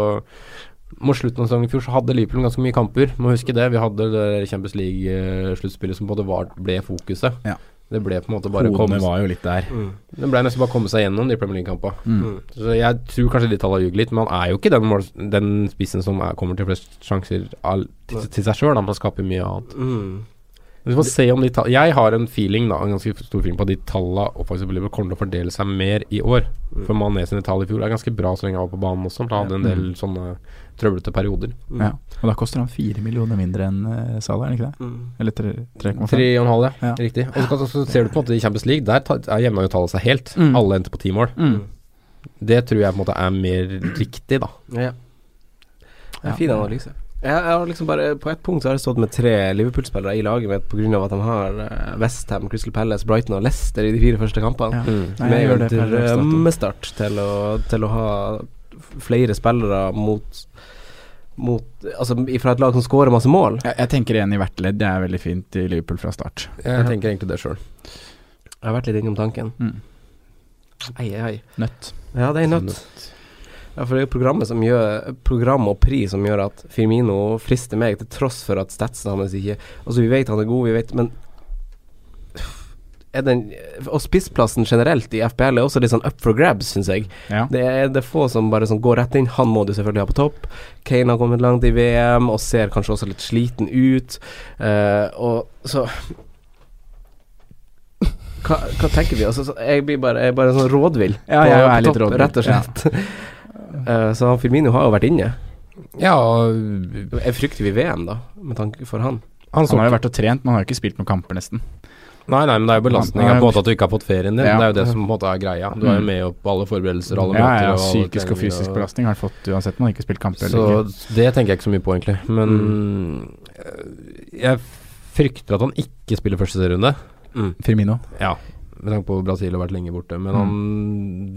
S4: mot slutten av sesongen i fjor så hadde Liverpool ganske eh, mye kamper, må huske det. Vi hadde det Champions League-sluttspillet som både var, ble fokuset. Ja. Det ble på en måte bare
S6: Hodene var jo litt der.
S4: Mm. Det ble nesten bare å komme seg gjennom de Premier League-kampene. Mm. Så jeg tror kanskje de tallene ljuger litt, men han er jo ikke den, mål, den spissen som er, kommer til flest sjanser all, til, til seg sjøl. Han skaper mye annet. Mm. Vi får se om de tall, jeg har en feeling da En ganske stor feeling på at de tallene offensive beløpet kommer til å fordele seg mer i år. For Mané sine tall i fjor er ganske bra så lenge han var på banen også. Han hadde en del sånne trøblete perioder.
S6: Mm. Ja. Og da koster han fire millioner mindre enn uh, Salah, er det ikke det? Mm. Eller 3,5?
S4: 3,5, ja. ja. Riktig. Og så, så, så, ser du på en måte i Champions League, der jevna jo tallet seg helt. Mm. Alle endte på ti mål. Det tror jeg på en måte er mer riktig, da.
S5: Ja. Det er fin analyse. Jeg, jeg har liksom bare, på ett punkt så har jeg stått med tre Liverpool-spillere i laget mitt pga. at de har eh, Westham, Crystal Palace, Brighton og Leicester i de fire første kampene. Ja. Mm. Nei, med en drømmestart til å, til å ha flere spillere mot mot, altså fra et lag som scorer masse mål.
S6: Jeg, jeg tenker en i hvert ledd. Det er veldig fint i Liverpool fra start.
S4: Jeg tenker egentlig det sjøl.
S5: Jeg har vært litt innom tanken. Mm. Ei, ei, ei.
S6: Nøtt.
S5: Ja, det er nøtt. nøtt. Ja, for det er programmet som gjør Program og pris som gjør at Firmino frister meg, til tross for at statsen hans ikke Altså, vi vet han er god, vi vet Men den, og spissplassen generelt i FBL er også litt sånn up for grabs, syns jeg. Ja. Det, er, det er få som bare sånn går rett inn. Han må du selvfølgelig ha på topp. Kane har kommet langt i VM og ser kanskje også litt sliten ut. Uh, og så hva, hva, tenker vi? Altså, jeg blir bare, jeg er bare sånn rådvill.
S6: Ja, på, jeg er litt rådvill.
S5: Rett og slett. (laughs) Ja. uh, så Firmino har jo vært inne.
S4: Ja,
S5: jeg frykter vi VM, da, med tanke for han.
S6: Han, han har jo vært og trent, men han har jo ikke spilt noen kamper, nesten.
S4: Nei, nei, men det er jo belastninga på en måte at du ikke har fått ferien din. Ja. Det er jo det som på en måte er greia. Du er jo med opp på alle forberedelser alle
S6: ja,
S4: møter.
S6: Ja, og psykisk og fysisk og... belastning har du fått uansett man har ikke spilt kamp.
S4: Så det tenker jeg ikke så mye på, egentlig. Men mm. jeg frykter at han ikke spiller første serierunde.
S6: Mm. Firmino.
S4: Ja. Med tanke på Brasil har vært lenge borte. Men han,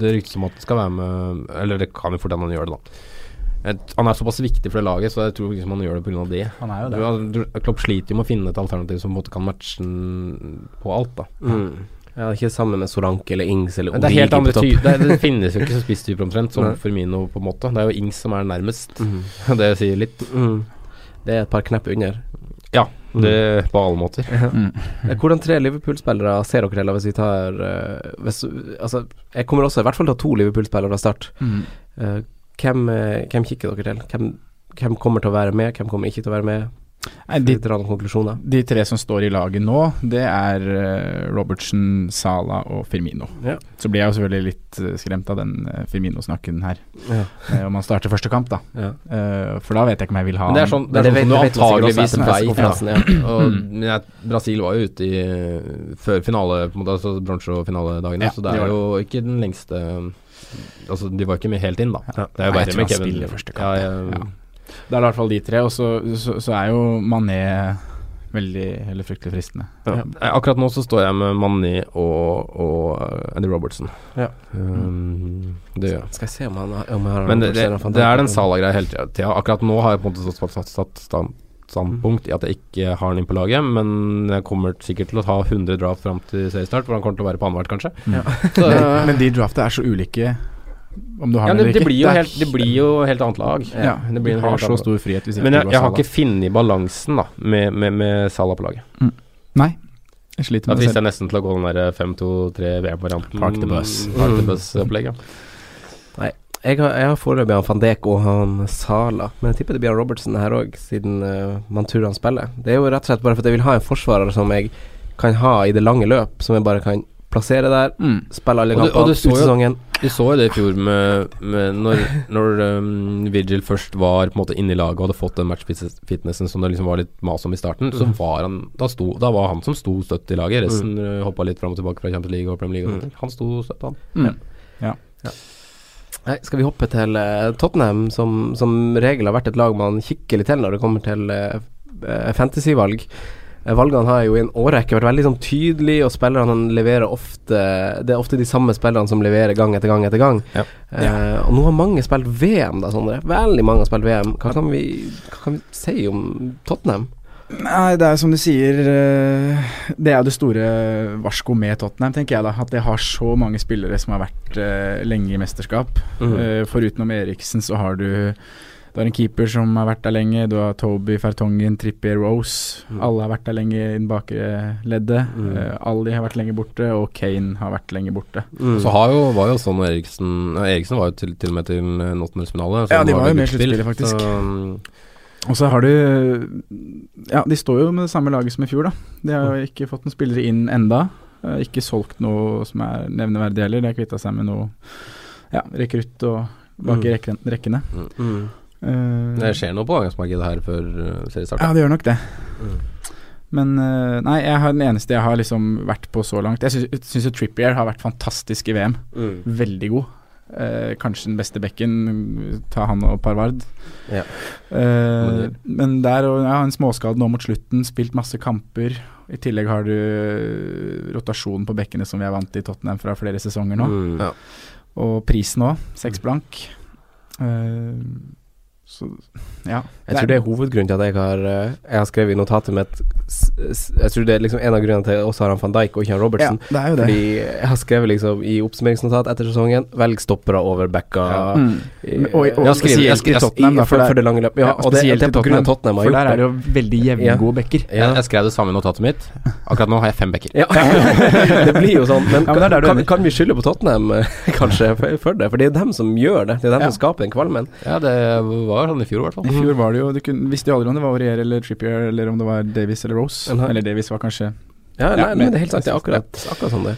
S4: det ryktes om at han skal være med Eller det kan jo fort hende han gjør det, da. Han er såpass viktig for det laget, så jeg tror liksom han gjør det pga. det.
S6: Han er jo
S4: det. Klopp sliter jo med å finne et alternativ som kan matche på alt, da.
S5: Mm. Ja, ikke sammen med Soranke eller Ings eller
S4: Odigi det, på topp. det, det, finnes jo ikke så spisstyper omtrent, (laughs) som Firmino på en måte. Det er jo Ings som er nærmest. Mm. (laughs) Det sier litt. Mm.
S5: Det er et par knepp under.
S4: Ja, det, på alle måter.
S5: Eh, Hvordan tre Liverpool-spillere ser dere til hvis vi tar hvis, Altså, jeg kommer også i hvert fall til å ha to Liverpool-spillere fra start. Mm. Uh, hvem, hvem, kikker dere til? Hvem, hvem, kommer til å være med, hvem kommer ikke til å være med?
S6: Nei,
S4: Eh,
S6: de, de, tre som står i laget nå, det er uh, Robertsen, Sala og Firmino. Ja. Så blir jeg jo selvfølgelig litt uh, skremt av den uh, Firmino-snakken her. Ja. om han starter første kamp, da. Ja. for da vet jeg ikke om jeg vil ha
S4: Men Det er sånn, det er sånn, det er sånn det vet, som du antageligvis vei fra. Ja. Mm. Og, Brasil var jo ute i før finale, på en måte, altså bronse- og finaledagene, så det er jo ikke den lengste Altså, de var ikke med helt inn, da. Ja.
S6: Det er jo verre med Kevin. Første kamp. Ja, ja. Det er i hvert fall de tre, og så, så, så er jo Mané veldig eller fryktelig fristende.
S4: Eh, Akkurat nå så står jeg med Mané og, og eh, Andy Robertson. Um, det gjør jeg.
S5: Skal jeg se om han har, om har
S4: Men det, det, det, er den Sala-greia hele tida. Akkurat nå har jeg på en måte satt, satt, satt stand, standpunkt i at jeg ikke har han inn på laget, men jeg kommer sikkert til å ta 100 draft fram til seriestart, for han kommer til å være på annethvert, kanskje. Ja.
S6: Så, men de draftene er så ulike om du har
S4: ja,
S6: den eller
S4: ikke. Blir jo helt, det blir jo helt annet lag.
S6: Ja, det blir du har så stor frihet
S4: hvis jeg Men jeg, jeg, jeg har ikke funnet balansen da med, med, med Salah på laget.
S6: Mm. Nei.
S4: Jeg sliter med det. Da frister jeg nesten til å gå den der eh, 5-2-3 VM-varianten.
S6: Park the bus.
S4: Mm. Park the bus-opplegget.
S5: Nei. Jeg har, jeg har foreløpig han van Dijk og han Sala, men jeg tipper det blir han Robertsen her òg, siden uh, man tror han spiller. Det er jo rett og slett bare fordi jeg vil ha en forsvarer som jeg kan ha i det lange løp, som jeg bare kan plassere der, mm. spille alle kampene ut sesongen.
S4: Du så jo det i fjor med, med når, når um, Virgil først var på en måte inne i laget og hadde fått den matchfitnessen som det liksom var litt mas om i starten, så var han da, sto, da var han som sto støtt i laget. Resten mm. Uh, hoppa litt fram og tilbake fra Champions League og Premier League. Og sånt. Han sto støtt, han.
S6: Mm. Ja. ja.
S5: Nei, skal vi hoppe til uh, Tottenham, som som regel har vært et lag man kikker litt til når det kommer til uh, fantasyvalg. Eh, Valgene har jo i en årrekke vært veldig sånn tydelig, og spillerne leverer ofte Det er ofte de samme spillerne som leverer gang etter gang etter gang. Ja. Ja. Eh, og nå har mange spilt VM, da, Sondre. Veldig mange har spilt VM. Hva kan vi, hva kan vi si om Tottenham?
S6: Nei, det er som du sier eh, Det er jo det store varsko med Tottenham, tenker jeg da. At det har så mange eh, spillere som har vært lenge i mesterskap. Mm. Foruten om Eriksen, så har du Du har en keeper som har vært der lenge, du har Toby, Fertongen, Trippier, Rose. Mm. Alle har vært der lenge i den bakre leddet. Mm. Uh, Ali har vært lenge borte, og Kane har vært lenge borte.
S4: Mm. Så jo, var jo sånn Eriksen Eriksen var jo til, til og med til Nottenhams-finale.
S6: Ja, de var, var jo med i sluttspillet, faktisk.
S4: mm,
S6: Så, og så har du Ja, de står jo med det samme laget som i fjor, da. De har jo ikke fått noen spillere inn enda. Eh, Ikke solgt noe som er nevneverdig heller. De har kvitta seg med noe ja, rekrutt og bak i rekken, rekkene. Mm.
S4: Uh, det skjer noe på avgangsmarkedet her før eh, seriestart.
S6: Ja, det gjør nok det. Mm. Men uh, nei, jeg har den eneste jeg har liksom vært på så langt. Jeg syns jo Trippier har vært fantastisk i VM. Mm. Veldig god. Uh, kanskje den beste bekken. Ta han og Parvard. Ja. men der og ja, en småskade nå mot slutten. Spilt masse kamper. I tillegg har du rotasjon på bekkene som vi er vant til i Tottenham fra flere sesonger
S5: Mm.
S6: nå. Ja. Og prisen òg. Seks blank. Uh, så, ja.
S5: Jeg tror det er hovedgrunnen til at jeg har, eh, jeg har skrevet i notatet mitt Jeg tror det er liksom en av grunnene til at jeg også har han van Dijk og ikke han Robertsen.
S6: Ja,
S5: fordi jeg har skrevet liksom i oppsummeringsnotat etter sesongen velg stoppere over backa. Ja. Mm.
S6: Og, og, og spesielt i Tottenham, da,
S5: for, for, det lange løpet. Ja, og det, det er på grunn av Tottenham
S6: For der er det jo veldig jevngode bekker.
S4: Jeg, jeg skrev det samme i notatet mitt. Akkurat nå har jeg fem bekker.
S5: (laughs) det blir jo sånn. Men, kan, kan, kan, vi skylde på Tottenham, eh, (laughs) kanskje, for, for, det? For det er dem som gjør det. Det er dem som skaper den kvalmen.
S4: Ja, det var sånn i fjor, i hvert fall.
S6: I
S5: Mm.
S6: fjor var det jo Du kunne, visste jo aldri om det var Aurier eller Trippier, eller om det var Davies eller Rose. Nei. Eller Davies var kanskje
S5: Ja, nei, ja men det er helt sant. Det er akkurat, akkurat sånn det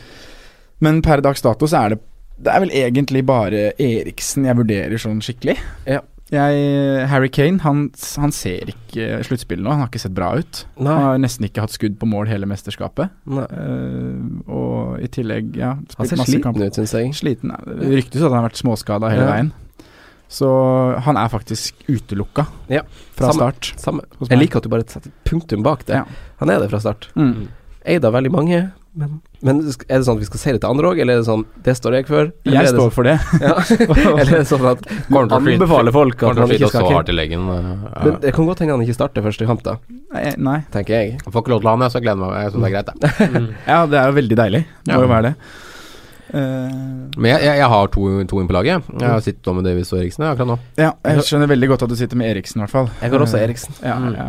S6: Men per dags dato så er det Det er vel egentlig bare Eriksen jeg vurderer sånn skikkelig. Ja. Jeg, Harry Kane han, han ser ikke sluttspillet nå. Han har ikke sett bra ut. Nei. Han har nesten ikke hatt skudd på mål hele mesterskapet. Uh, og i tillegg, ja
S5: Han ser sliten kamp. ut, syns jeg.
S6: Sliten. Det ryktes at han har vært småskada hele ja. veien. Så han er faktisk utelukka ja, fra
S5: samme,
S6: start.
S5: Samme. Jeg liker at du bare setter punktum bak det. Ja. Han er det fra start. Mm. Eid av veldig mange, men, men, er det sånn at vi skal si det til andre òg, eller er det sånn det står jeg for?
S6: Jeg står
S5: det,
S6: for (laughs) det.
S5: Ja. eller er det sånn
S4: (laughs)
S5: at man anbefaler folk at man ikke skal
S4: hardt i leggen. eh,
S5: Men det kan godt hende han ikke starter første kamp, da.
S6: Nei, nei.
S5: Tenker jeg.
S4: Jeg får ikke lov til å ha ham, så jeg gleder meg. Jeg syns det er greit,
S6: jeg. mm. ja, det er jo veldig deilig. Det må jo være det.
S4: Men jeg, jeg, jeg, har to, to inn på laget. Jeg sitter da med Davies og Mm. Eriksen akkurat nå.
S6: Ja, jeg skjønner veldig godt at du sitter med Eriksen, i hvert fall. Eh,
S5: Jeg går også Eriksen. Ja, ja.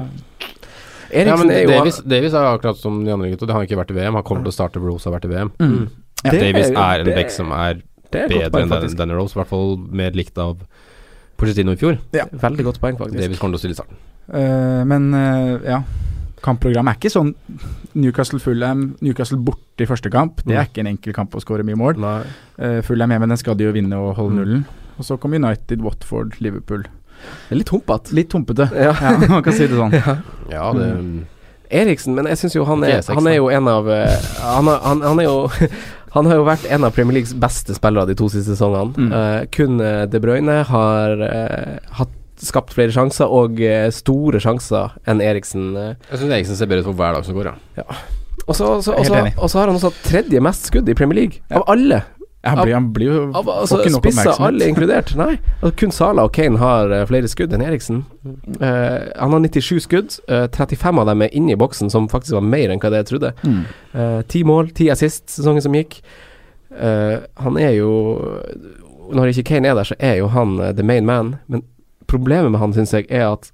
S4: Eriksen ja, men er Davies, Davies, er akkurat som de andre gutta. Han har ikke vært i VM. Han kommer til å starte hvor Rose har vært i VM. Mm. Ja. Davies er en det, back som er, er bedre enn denne, denne Rose, i hvert fall mer likt av Porcetino i fjor.
S6: Ja. Veldig godt poeng, faktisk.
S4: Davies kommer til å stille i starten.
S6: Uh, men uh, ja kampprogrammet er ikke sånn Newcastle Fulham, Newcastle borte i første kamp. Det er ikke en enkel kamp å skåre mye mål. Nei. Uh, Fulham hjemme, den skal de jo vinne og holde nullen. Og så kommer United, Watford, Liverpool.
S5: Det er litt humpete.
S6: Litt humpete, ja. ja. man kan si det sånn.
S4: Ja, ja det mm.
S5: Eriksen, men jeg syns jo han er, han er jo en av eh, han, har, han, han er jo (laughs) Han har jo vært en av Premier Leagues beste spillere de to siste sesongene. Mm. Uh, kun De Bruyne har uh, hatt skapt flere sjanser, og eh, store sjanser enn Eriksen.
S4: Jeg syns Eriksen ser bedre ut for hver dag som går,
S5: ja. Og så har han også tredje mest skudd i Premier League, ja. av alle.
S6: Ja, han, blir, han blir, jo
S5: av, altså, ikke nok Spissa alle inkludert, nei. Altså, kun Sala og Kane har eh, flere skudd enn Eriksen. Uh, han har 97 skudd, uh, 35 av dem er inne i boksen, som faktisk var mer enn hva det jeg trodde. Mm. Uh, 10 mål, 10 assist sesongen som gikk. Eh, han er jo Når ikke Kane er der, så er jo han eh, the main man, men problemet med han, syns jeg, er at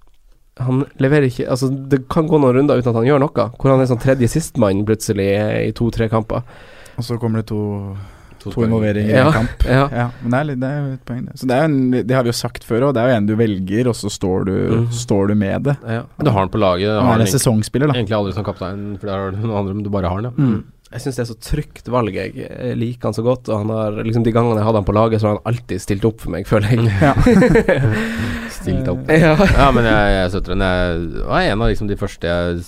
S5: han leverer ikke Altså, det kan gå noen runder uten at han gjør noe. Hvor han er sånn tredje sistmann plutselig eh, i to-tre kamper.
S6: Og så kommer det to To, to involveringer ja, i kamp. Ja. ja. Men det er, litt, det er, jo et poeng, det. Så det, er en, det har vi jo sagt før òg, det er jo en du velger, og så står du, mm. står du med det. Ja.
S4: Du har den på laget.
S6: Han er en sesongspiller, da.
S4: Egentlig aldri som kaptein, for der har du noen andre, men du bare har den, ja. Mm.
S5: Jeg syns det er så trygt valg. Jeg eh, liker han så godt. Og han har, liksom De gangene jeg hadde han på laget, så har han alltid stilt opp for meg, føler
S6: (laughs)
S5: jeg. Ja.
S4: stilt opp. Ja.
S6: Eh.
S4: ja, men jeg, jeg støtter den. Jeg var en av liksom, de første jeg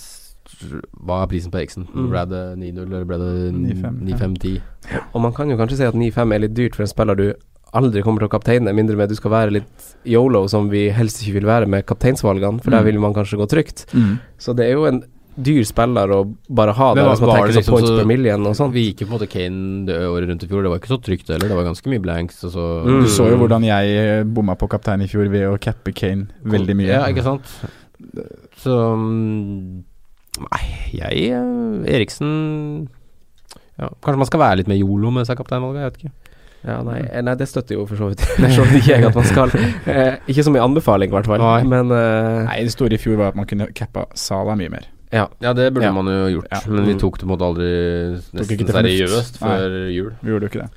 S4: Hva er prisen på Eriksen?
S6: Mm.
S4: Ble det 9-0, eller ble det 9-5-10?
S5: Ja. Og man kan jo kanskje si at 9-5 er litt dyrt for en spiller du aldri kommer til å kapteine, mindre med at du skal være litt yolo, som vi helst ikke vil være med kapteinsvalgene, for mm. der vil man kanskje gå trygt. Mm. Så det er jo en dyr spiller å bare ha det. Hvis man tenker liksom, points per million og sånt.
S4: Vi gikk jo på en måte Kane det året rundt i fjor, det var ikke så trygt heller. Det var ganske mye blanks. Så.
S6: Mm. Du så jo hvordan jeg bomma på kaptein i fjor ved å cappe Kane veldig mye.
S4: Ja, ikke sant. Så mm, Nei, jeg eh, Eriksen ja, Kanskje man skal være litt mer yolo med seg kapteinvalget, jeg vet ikke.
S5: Ja, nei, nei, det støtter jo for så vidt (laughs) for så vidt ikke jeg at man (laughs) skal. Eh, ikke som en anbefaling, i hvert fall.
S6: Nei.
S5: Men eh,
S6: Nei, det store i fjor var at man kunne cappa Sala mye mer.
S5: ja.
S4: Ja, Mm. det burde
S6: Ja.
S4: man jo gjort,
S6: Ja.
S4: men vi tok det på en måte aldri nesten
S6: ikke til fornuft.
S4: seriøst før jul.
S6: Vi gjorde jo ikke det.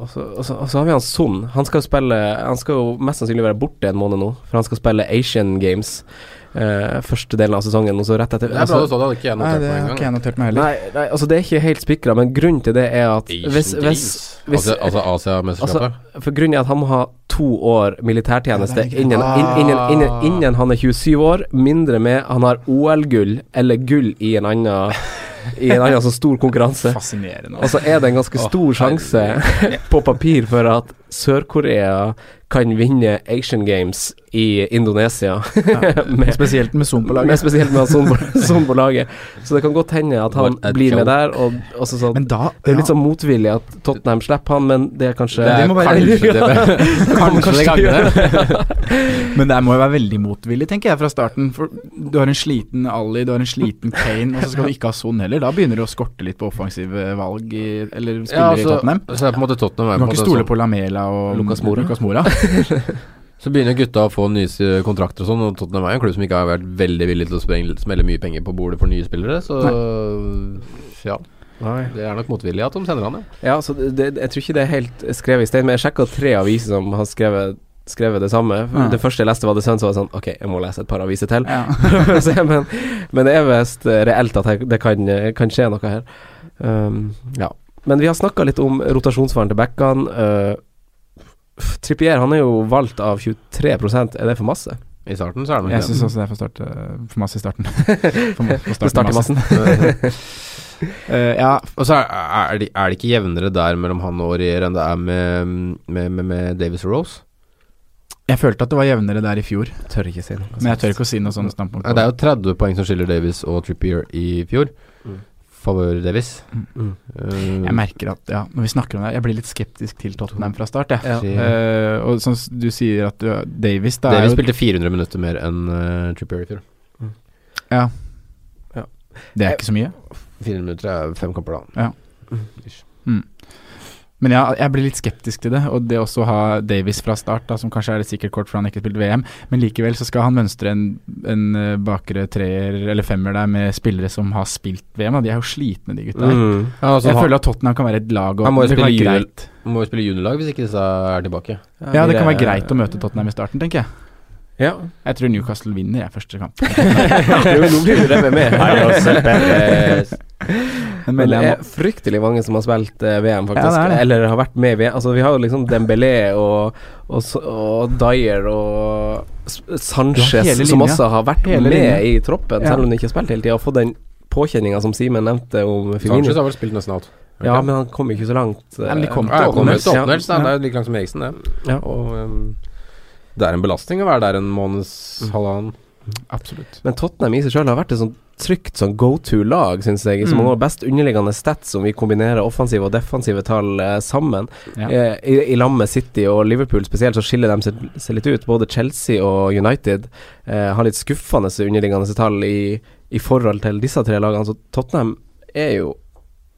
S5: Og så, og, så, og så har vi han Son. Han skal jo spille Han skal jo mest sannsynlig være borte en måned nå, for han skal spille Asian Games eh, første delen av sesongen, og så rett etter. altså,
S4: Det er bra du sa det, hadde ikke jeg
S6: Nei,
S4: notert
S6: det
S4: meg
S6: har ikke
S4: engang.
S6: jeg notert meg heller.
S5: Nei, nei, altså det er ikke helt spikra, men grunnen til det er at
S4: Asian
S5: hvis, hvis,
S4: Games.
S5: hvis
S4: altså altså Asiamesterskapet?
S5: For grunnen er at han må ha to år militærtjeneste innen, inn- innen, innen, innen han er 27 år, mindre med han har OL-gull eller gull i en annen I en annen så stor konkurranse.
S6: Fascinerende. altså.
S5: Og så er det en ganske stor sjanse (laughs) på papir for at Sør-Korea kan vinne Asian Games i Indonesia. med,
S6: Spesielt (laughs) med Zoom
S5: (laughs)
S6: på
S5: med
S6: laget.
S5: spesielt med han Son på- Son på laget. Så det kan godt hende at han
S4: What a
S5: blir med
S4: joke.
S5: der. Og, og så sånn
S6: Men da
S5: det er jo litt
S6: ja.
S5: sånn motvillig at Tottenham slipper han, men det er kanskje
S6: Det må (laughs) være-
S4: kanskje det, kanskje det gagner.
S6: Men det må jo være veldig motvillig, tenker jeg, fra starten. For du har en sliten Ali, du har en sliten Kane, og så skal du ikke ha Son heller. Da begynner det å skorte litt på offensive valg i, eller spillere
S4: Ja, altså,
S6: i Tottenham.
S4: så er på en måte Tottenham
S6: Du
S4: er på
S6: kan
S4: en
S6: ikke
S4: måte
S6: stole
S4: sånn-
S6: på Lamela og
S5: Lucas Moura.
S4: (laughs) Så begynner gutta å få nye s- kontrakter og sånn, og Tottenham er jo en klubb som ikke har vært veldig villig til å spreng- smelle mye penger på bordet for nye spillere, så ja. Det er nok motvillig at de sender han, ja.
S5: Ja, så det, det, jeg tror ikke det er helt skrevet i stein, men jeg sjekka tre aviser som har skrevet skrevet det samme.
S6: Ja.
S5: Det første jeg leste, var The Sun, så var jeg sånn Ok, jeg må lese et par aviser til.
S6: Ja.
S5: For (laughs) å se, men, men det er visst reelt at jeg- det kan, kan skje noe her. Um, ja. Men vi har snakka litt om rotasjonsfaren til backene. Uh, Trippier han er jo valgt av 23 Er det for masse?
S4: I starten så er det
S6: Jeg
S4: nok
S6: syns
S4: det.
S6: også det er for, starte, for masse i
S4: (laughs)
S6: starten. For, ma- for
S5: Det starter massen. (laughs) Uh,
S6: Eh, (laughs) ja,
S4: Og så er, er, det, er det ikke jevnere der mellom han og Rier enn det er med, med, med, med Davis og Rose?
S6: jeg følte at det var jevnere der i fjor,
S5: Tør ikke si noe.
S6: men jeg tør ikke å si noe sånt standpunkt.
S4: Nei, det er jo 30 poeng som skiller Davis og Trippier i fjor. Favør Davis.
S5: Mm.
S4: Eh,
S6: Jeg merker at, ja, når vi snakker om det, jeg blir litt skeptisk til Tottenham fra start, jeg.
S4: Ja.
S6: Eh, og som s- du sier at du, Davis, da
S4: Davis
S6: er jo
S4: spilte 400 minutter mer enn eh, Trippier i fjor.
S6: Det er ikke så mye.
S4: 400 minutter er fem kamper, da.
S6: Men ja, jeg blir litt skeptisk til det. Og det også å ha Davis fra start, da, som kanskje er et sikkert kort for han ikke har spilt VM, men likevel så skal han mønstre en, en eh, bakre treer eller femmer der med spillere som har spilt VM. Da. De er jo slitne, de gutta. her
S5: Mm.
S4: Ja, altså,
S6: jeg
S4: han,
S6: føler at Tottenham kan være et lag og
S4: Han må jo
S6: det kan
S4: spille
S6: være
S4: junior-
S6: greit.
S4: må jo spille juniorlag hvis ikke disse er tilbake. (laughs)
S6: Ja, det kan være greit å møte Tottenham i starten, tenker jeg.
S5: Ja. (laughs)
S6: Jeg tror Newcastle vinner jeg første (laughs) kamp.
S5: Jo, nå blir du revet med.
S4: eh, (laughs)
S6: Men
S5: Men det
S6: jeg
S5: er fryktelig mange som har spilt eh, VM, faktisk.
S6: Ja, det er det.
S5: Eller har vært med i VM. Altså, vi har jo liksom Dembélé og, og, s- og Dyer og S-
S6: Du har
S5: Sanchez,
S6: hele
S5: som
S6: linja.
S5: også har vært
S6: Hele
S5: med
S6: linja.
S5: i troppen,
S6: Ja.
S5: selv om de ikke har spilt hele tida. Og fått den påkjenninga som Simen nevnte om
S4: Sanchez
S5: Firmino.
S4: har vel spilt nesten alt.
S5: Ja, men han kom ikke så langt. eh,
S6: Nei, men de kom
S4: Ja,
S6: til
S4: jeg kommer
S6: åttendels.
S4: ut til åttendels, da.
S6: Ja.
S4: Det er jo like langt som Eriksen, det.
S5: Ja.
S4: Og ehm, det er en belastning å være der en måneds halvannen.
S6: må, absolutt.
S5: Men Tottenham i seg sjøl har vært et sånn trygt sånn go to-lag, syns jeg. Som
S6: Mm.
S5: har best underliggende stats om vi kombinerer offensive og defensive tall eh, sammen.
S6: Ja.
S5: Eh, I, I lag med City og Liverpool spesielt så skiller de seg, seg litt ut. Både Chelsea og United eh, har litt skuffende underliggende tall i, i forhold til disse tre lagene. Så Tottenham er jo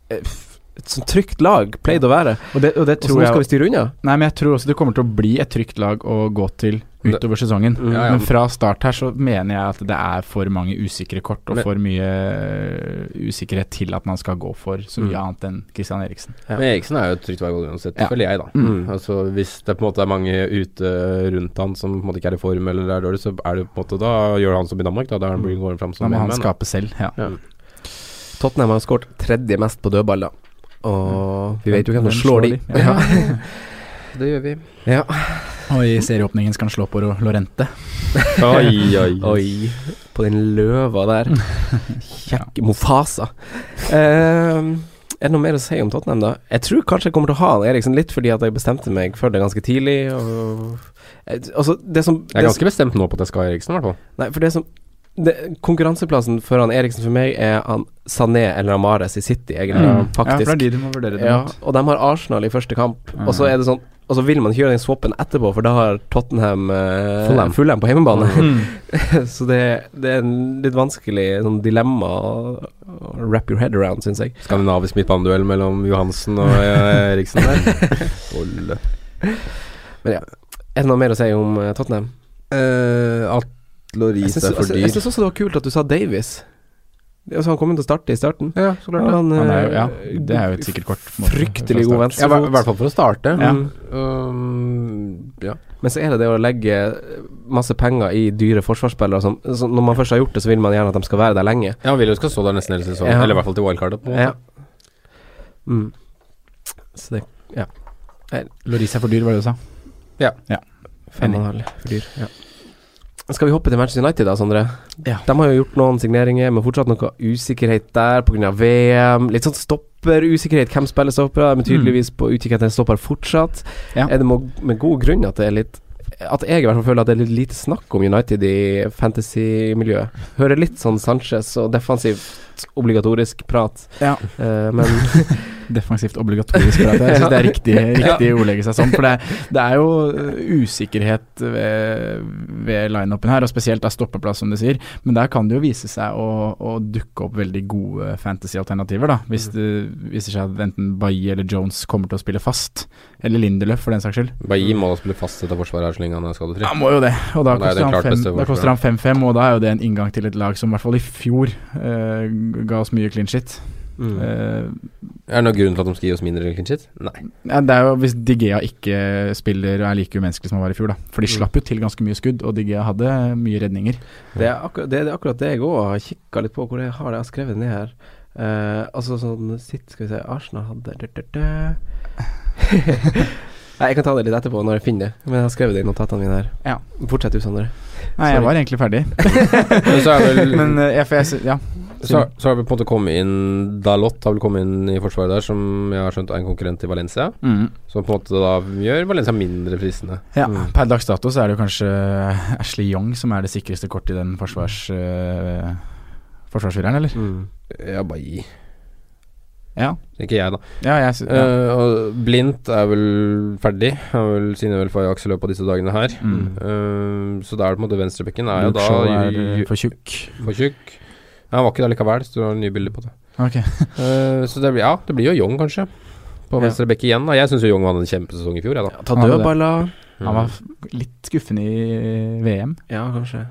S5: eh, f- et sånn trygt lag, pleid å være.
S6: Og det, og det
S5: Og så
S6: tror
S5: nå
S6: jeg
S5: skal vi styre unna.
S6: Nei, men jeg tror også det kommer til å bli et trygt lag å gå til utover sesongen.
S4: Mm. Ja, ja.
S6: Men fra start her så mener jeg at det er for mange usikre kort og
S4: Men-
S6: for mye øh, usikkerhet til at man skal gå for så
S4: Mm.
S6: mye annet enn Christian Eriksen.
S5: Ja.
S4: Men Eriksen er jo et trygt valg uansett,
S6: Ja.
S4: føler jeg, da.
S6: Mm.
S4: Altså Hvis det på en måte er mange ute rundt han som på en måte ikke er i form eller er dårlig, så er det på en måte da gjør han som i Danmark, da. Da er han går han fram
S6: Da
S4: som
S6: må han
S4: en mann, Mm. da.
S6: skape selv. Ja.
S4: Ja.
S5: Tottenham har skåret tredje mest på dødballer. Og vi vet jo hvem
S6: Hvem
S5: som slår de. (laughs)
S6: de? Ja.
S4: Det gjør vi.
S5: Ja.
S6: Og i serieåpningen skal han slå på Ro- Lorente.
S4: Oi, (laughs) oi.
S5: Oi, på den løva der.
S6: Ja.
S5: Mofasa. Eh, er det noe mer å si om Tottenham, da? Jeg tror kanskje jeg kommer til å ha han Eriksen litt fordi at jeg bestemte meg for det ganske tidlig. Og, Eh, altså, det som
S4: Jeg er
S5: det
S4: ganske bestemt nå på at jeg skal ha Eriksen, i hvert fall.
S5: som- Nei, for det som det, Konkurranseplassen for han Eriksen for meg er han Sané eller Amares i City, egentlig.
S6: Mm. Ja, for
S5: Faktisk.
S6: det er Mm. de du må vurdere det
S5: Ja,
S6: mot.
S5: og de har Arsenal i første kamp, og så
S6: Ja.
S5: er det sånn Og så vil man ikke gjøre den swappen etterpå, for da har Tottenham eh, Fulham. Fulham på
S6: Mm.
S5: hjemmebane. (laughs) så det, det er en litt vanskelig sånn dilemma å, å wrap your head around, syns jeg.
S4: Skandinavisk midtbaneduell mellom Johansen og eh, Eriksen (laughs) der. Olle.
S5: Men ja. Er det noe mer å si om eh, Tottenham?
S4: Eh, at
S5: Jeg
S4: Loris
S5: syns
S4: er for
S5: altså,
S4: dyr.
S5: jeg syns også det var kult at du sa Davies. Det- Altså, han kommer til å starte i starten.
S4: Ja, så klart det.
S5: Han,
S6: Han er jo,
S5: eh,
S6: ja, det er jo et sikkert kort. på en måte,
S5: Fryktelig
S6: fra
S5: god
S6: start.
S4: Ja, i hver- i hvert
S5: venstrefot.
S4: fall for å
S5: Mm.
S4: starte.
S6: Ja.
S4: Um, ja.
S5: Men så er det det å legge masse penger i dyre forsvarsspillere som så Når man først har gjort det, så vil man gjerne at de skal være der lenge.
S4: ja, William skal stå der nesten hele sesongen.
S5: Ja.
S4: Eller i hvert fall til wildcardet. på en måte.
S5: Ja. Mm. Så det Ja.
S6: Loris er for dyr, var det du sa?
S4: Ja.
S5: Fem og en halv for dyr. Ja. Skal vi hoppe til Manchester United da, Sondre?
S6: Ja.
S5: De har jo gjort noen signeringer, men fortsatt noe usikkerhet der pga. VM. Litt sånn stopperusikkerhet. Hvem spiller stoppere? De er tydeligvis på utkikk etter en stopper fortsatt.
S6: Mm. Ja.
S5: Er det mo- med god grunn at det er litt At jeg i hvert fall føler at det er litt lite snakk om United i fantasy-miljøet. Hører litt sånn Sanchez og defensivt obligatorisk prat,
S6: Ja.
S5: eh, men
S6: (laughs) Defensivt obligatorisk. for at Jeg syns det er riktig, riktig å ordlegge seg sånn. For det, det er jo eh, usikkerhet ved, ved lineupen her, og spesielt er stoppeplass, som du sier. Men der kan det jo vise seg å, å dukke opp veldig gode fantasy-alternativer, da. Hvis det viser seg at enten Bailly eller Jones kommer til å spille fast. Eller Linderløf, for den saks skyld.
S4: Bailly må da spille fast etter forsvaret her så lenge han er skadefri.
S6: Han må jo det, og da
S4: Han er
S6: koster
S4: den
S6: han
S4: klart
S6: fem-
S4: beste
S6: da koster han 5-5, og da er jo det en inngang til et lag som i hvert fall i fjor eh, ga oss mye clean shit.
S5: mm.
S4: Mm.
S6: Eh,
S4: Er det noen grunn til at de skal gi oss mindre clean shit? Nei.
S6: Ja, det er jo hvis Digea ikke spiller og er like umenneskelig som han var i fjor, da. For de
S4: Mm.
S6: slapp jo til ganske mye skudd, og Digea hadde mye redninger.
S5: Det er, akkur det, det er akkurat det jeg òg har kikka litt på, hvor jeg har det jeg har skrevet ned her. Eh, altså sånn sitt, skal vi se Arsenal hadde dø, dø, dø.
S6: (laughs)
S5: Nei, jeg kan ta det litt etterpå når jeg finner det. Men jeg har skrevet det i notatene mine her.
S6: Ja.
S5: Fortsett du, Sondre.
S6: Nei, jeg var egentlig ferdig,
S4: (laughs) Men så er vel
S6: men eh, jeg, for jeg, sy- ja.
S4: så, så har vi på en måte kommet inn Dalot har vel kommet inn i forsvaret der, som jeg har skjønt er en konkurrent til Valencia.
S6: Mm.
S4: Som på en måte da gjør Valencia mindre fristende.
S6: Ja, Per dags dato så er det jo kanskje eh, Ashley Young som er det sikreste kortet i den forsvars... Uh, forsvarsfireren, eller?
S4: Ja, bare gi.
S6: Ja.
S4: Ikke jeg, da.
S6: ja, jeg, sy- ja.
S4: Eh, og Blindt er vel ferdig. Han vel signer vel for Ajax i løpet av disse dagene her. Eh, så da er det på en måte venstrebekken er jo
S6: Mm. Luke
S4: da
S6: Shaw er
S4: ju-
S6: eh, for tjukk.
S4: for tjukk. Ja, han var ikke der likevel, så du har nye bilder på det.
S6: Ok.
S4: Eh, så det blir, ja, det blir jo Young, kanskje. På
S6: Ja.
S4: venstre bekk igjen. Da. Jeg syns Young hadde en kjempesesong i fjor, jeg, da.
S5: Ta
S6: Han hadde det.
S5: dødballer.
S6: Han
S4: Mm.
S6: var f- litt skuffende i VM,
S5: Ja, kanskje.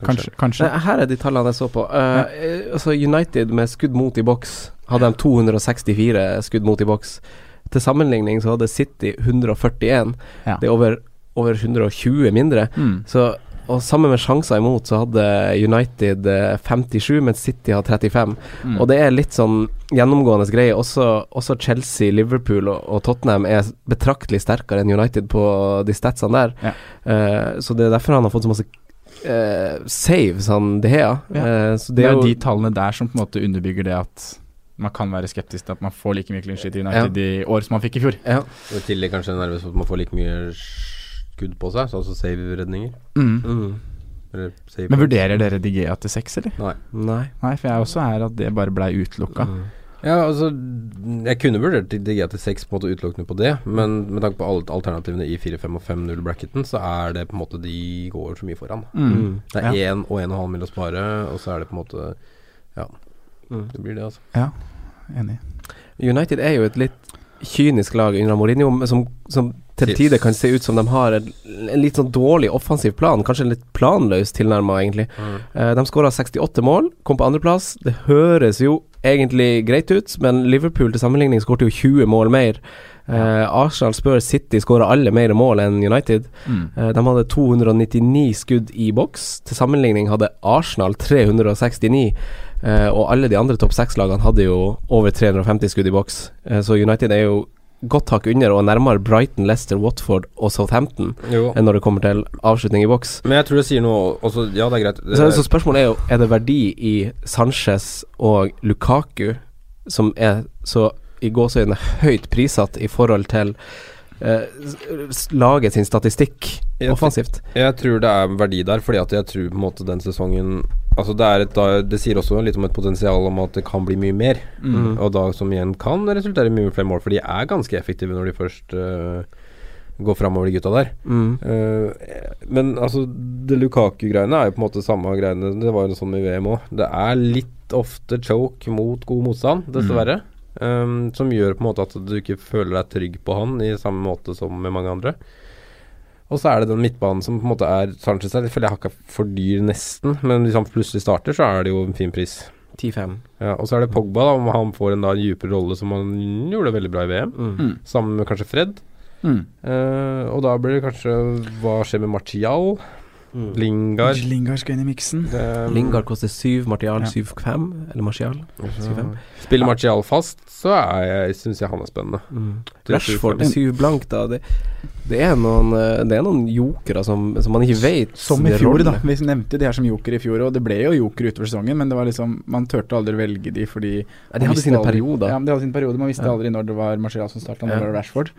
S6: kanskje.
S5: Nei,
S6: kanskje.
S5: her er de tallene jeg så på. Eh, eh, altså United med skudd mot i boks hadde de 264 skudd mot i boks. Til sammenligning så hadde City 141.
S6: Ja.
S5: Det er over, over 120 mindre.
S6: Mm.
S5: Så, og sammen med sjanser imot så hadde United eh, 57, mens City har 35.
S6: Mm.
S5: Og det er litt sånn gjennomgående greie. Også, også Chelsea, Liverpool og, og Tottenham er betraktelig sterkere enn United på de statsene der.
S6: Ja.
S5: Eh, så det er derfor han har fått så masse eh, saves, han Dehea.
S6: Ja.
S5: Eh, så
S6: Det er jo de
S5: jo
S6: tallene der som på en måte underbygger det at man kan være skeptisk til at man får like mye clean shit i United i år som man fikk i fjor.
S5: ja.
S4: Og I tillegg kanskje nervøs for at man får like mye skudd på seg, så altså save-redninger.
S5: Mm.
S4: Eller save
S6: Men vurderer dere Digea til seks, eller?
S4: Nei.
S5: Nei.
S6: Nei, for jeg også er at det bare blei utelukka.
S4: Ja, altså Jeg kunne vurdert DG til 6 på en måte utelukkende på det, men med tanke på alle alternativene i 4, 5 og 5-0-bracketen, så er det på en måte de går så mye foran.
S6: Mm.
S4: Det er 1 og 1,5 mil å spare, og så er det på en måte Ja. Det blir det, altså.
S6: Ja, enig.
S5: United er jo et litt kynisk lag under Mourinho, men som, som til
S4: Yes.
S5: tider kan se ut som de har en, en litt sånn dårlig offensiv plan. Kanskje en litt planløs tilnærma, egentlig. Eh, de skåra 68 mål, kom på andreplass. Det høres jo egentlig greit ut, men Liverpool til sammenligning skårte jo 20 mål mer. Eh, Arsenal spør City skåra alle mer mål enn United. Eh, de hadde 299 skudd i boks. Til sammenligning hadde Arsenal 369. Eh, og alle de andre topp seks-lagene hadde jo over 350 skudd i boks. Eh, så United er jo godt hakk under og nærmere Brighton, Leicester, Watford og Southampton
S4: Jo.
S5: enn når det kommer til avslutning i boks.
S4: Men jeg tror det sier noe også Ja, det er greit.
S5: Så, så spørsmålet er jo Er det verdi i Sanchez og Lukaku, som er så i gåseøyne høyt prissatt i forhold til eh, s- laget sin statistikk
S4: Jeg-
S5: offensivt?
S4: Jeg tror det er verdi der, fordi at jeg tror på en måte den sesongen Altså det, er et, da- det sier også litt om et potensial om at det kan bli mye mer, og da som igjen kan resultere i mye flere mål, for de er ganske effektive når de først øh, gå framover, de gutta der.
S5: Mm.
S4: Eh, men altså, det Lukaku-greiene er jo på en måte samme greiene. Det var jo sånn i VM òg. Det er litt ofte choke mot god motstand, dessverre. Eh, som gjør på en måte at du ikke føler deg trygg på han i samme måte som med mange andre. Og så er det den midtbanen som på en måte er Sanchez er, jeg føler jeg hakka for dyr nesten, men hvis han plutselig starter, så er det jo en fin pris.
S5: 10-5.
S4: Ja, og så er det Pogba, da, om han får en da dypere rolle, som han gjorde veldig bra i VM,
S6: Mm.
S4: sammen med kanskje Fred.
S6: Mm.
S4: Eh, og da blir det kanskje Hva skjer med Martial? Mm. Lingard?
S6: Lingard skal inn i miksen.
S4: Eh,
S5: Lingard koster 7, Martial
S6: Ja.
S5: 7-5. Eller Martial 7-5.
S4: Eh, Spiller Martial fast, så syns jeg han er spennende.
S5: Mm.
S4: Til
S5: Rashford til 7 blank, da. Det, det, er noen, eh, det er noen jokere som, som man ikke vet
S6: Som i
S5: det
S6: fjor,
S5: rolle.
S6: da. Vi nevnte de her som joker i fjor, og det ble jo joker utover sesongen, men det var liksom Man turte aldri velge de fordi
S5: de hadde sine perioder.
S6: Ja, men de hadde sine perioder. Man visste aldri når det var Marcial som starta, når
S5: Ja.
S6: det var Rashford.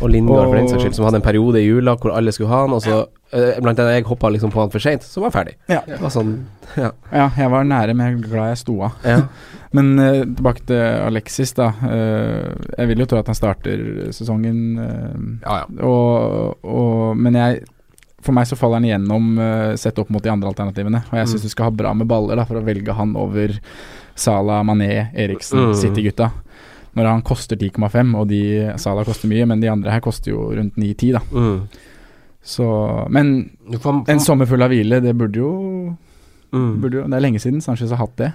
S5: Og Lingard, for den
S6: Og-
S5: saks skyld, som hadde en periode i jula hvor alle skulle ha han, og så eh, Blant annet jeg hoppa liksom på han for seint, så var han ferdig.
S6: Ja.
S5: Det var sånn Ja.
S6: ja, jeg var nære, men jeg er glad jeg sto av.
S5: ja.
S6: Men eh, tilbake til Alexis, da. Eh, jeg vil jo tro at han starter sesongen, eh,
S4: Ja, ja.
S6: og, og, men jeg for meg så faller han igjennom eh, sett opp mot de andre alternativene. Og
S4: Mm.
S6: jeg syns du skal ha bra med baller da, for å velge han over Salah, Mané,
S5: Mm.
S6: Eriksen, City-gutta. Når han koster 10,5, og de Salah koster mye, men de andre her koster jo rundt 9-10, da.
S5: Mm.
S6: Så Men en sommer full av hvile, det burde jo,
S5: Mm.
S6: burde jo Det er lenge siden Sanchez har hatt det.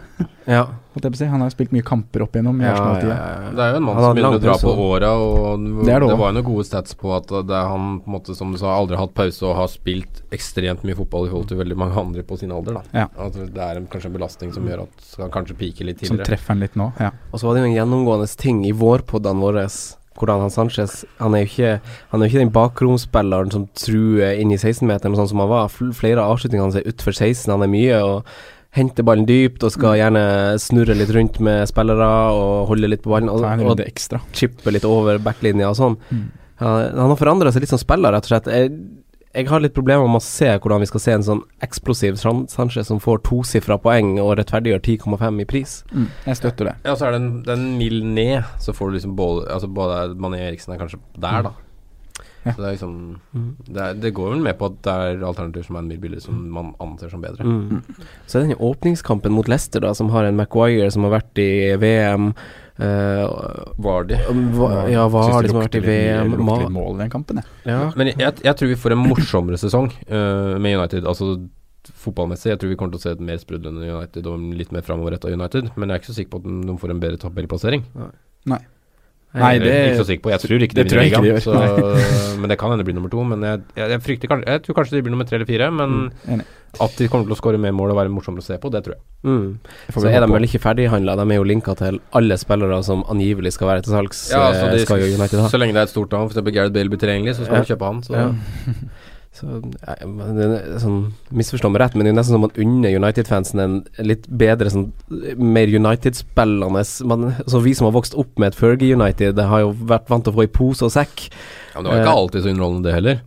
S5: Ja.
S6: Holdt jeg på å si. Han har jo spilt mye kamper opp igjennom i Arsenal-tida.
S4: Det er jo en mann
S5: Han
S4: som
S5: hadde
S4: begynner å dra på
S5: langpause.
S4: åra, og det,
S6: Det er det også.
S4: var jo noen gode stats på at det er han på en måte, som du sa, aldri har hatt pause og har spilt ekstremt mye fotball i forhold til veldig mange andre på sin alder. Da.
S6: Ja. Mm.
S4: At det er en, kanskje en belastning som gjør at han kanskje piker litt
S6: Som
S4: tidligere.
S6: treffer han litt nå. Ja.
S5: Og så var det jo en gjennomgående ting i vårpoddene våre hvordan han Sanchez Han er jo ikke, han er jo ikke den bakromspilleren som truer inn i 16-meteren, sånn som han var. Fl- Flere av avslutningene hans er utfor 16, han er mye og henter ballen dypt og
S6: Mm.
S5: skal gjerne snurre litt rundt med spillere og holde litt på ballen og,
S6: Så er han en
S5: og
S6: runde Mm. ekstra.
S5: chippe litt over backlinja og sånn. Han, han har forandra seg litt som spiller, rett og slett. Jeg, jeg har litt problemer med å se hvordan vi skal se en sånn eksplosiv San- Sanchez som får tosifra poeng og rettferdiggjør 10,5 i pris.
S6: Mm. Jeg støtter det.
S4: Ja, så er det en, det er en mil ned, så får du liksom både, altså både Mané og Eriksen er kanskje der, da.
S6: Ja.
S4: Så det er liksom det, er, det går vel med på at det er alternativer som er en mil billigere, som man anser som bedre.
S5: Mm. Så er det den åpningskampen mot Leicester, da, som har en Maguire som har vært i VM. eh,
S4: Var de.
S5: hva, ja, hva
S6: Synes
S5: har
S6: det
S5: liksom vært i
S6: lukter litt-
S5: VM?
S6: lukter
S5: Ma
S6: litt mål i den kampen, jeg.
S5: ja.
S4: Men jeg, jeg tror vi får en morsommere sesong eh, med United. Altså fotballmessig. Jeg tror vi kommer til å se et mer sprudlende United og en litt mer framoverretta United. Men jeg er ikke så sikker på at de får en bedre tabellplassering.
S6: Nei,
S4: Eller, ikke så sikker på. Jeg tror ikke de
S6: det tror
S4: vinner
S6: jeg ikke
S4: ligaen.
S6: de
S4: så- (laughs) Men det kan hende de blir nummer to. Men jeg, jeg, jeg frykter kanskje Jeg tror kanskje de blir nummer tre eller fire. Men
S6: Enig.
S4: at de kommer til å skåre mer mål og være morsommere å se på, det tror jeg.
S5: Mm.
S6: Får
S5: Så
S6: vi
S5: er
S6: håpe
S5: de
S6: på.
S5: vel ikke ferdighandla. De er jo linka til alle spillere som angivelig skal være til salgs. eh, skal jo United ha.
S4: altså, så lenge det er et stort navn, f.eks. Gareth Bale blir tilgjengelig, så skal
S5: Ja.
S4: man kjøpe han. Så.
S5: Ja. (laughs) Så, nei, men det er sånn, misforstå meg rett, men det er jo nesten som man unner United-fansen en litt bedre, sånn, mer United-spillende man- Så Vi som har vokst opp med et Fergie United, det har jo vært vant til å få i pose og sekk.
S4: Ja, men det var ikke alltid så underholdende, det heller.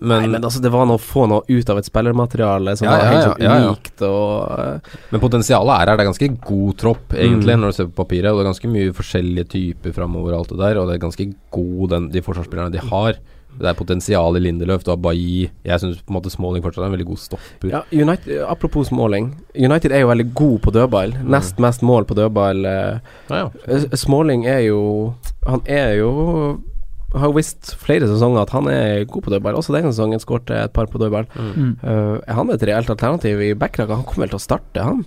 S4: Men,
S5: Nei, men altså, det var noe å få noe ut av et spillermateriale som
S4: Ja,
S5: var
S4: ja,
S5: helt
S4: ja,
S5: sånn
S4: ja, ja.
S5: unikt og eh,
S4: Men potensialet er her. Det er ganske god tropp, egentlig, når du ser på papiret. Og det er ganske mye forskjellige typer framover og alt det der. Og det er ganske god den, de forsvarsspillerne de har. Det er potensial i Lindeløf, du har Bailly Jeg syns på en måte Smalling fortsatt er en veldig god stopper.
S5: Ja, United, apropos måling. United er jo veldig god på dødball. Nest mest mål på dødball. eh,
S4: Mm. Ja, ja.
S5: S- Smalling er jo Han er jo har jo visst flere sesonger at han er god på dødball. Også denne sesongen skårte et par på dødball.
S4: Mm.
S5: Uh, er han et reelt alternativ i backlaget? Han kommer vel til å starte, han?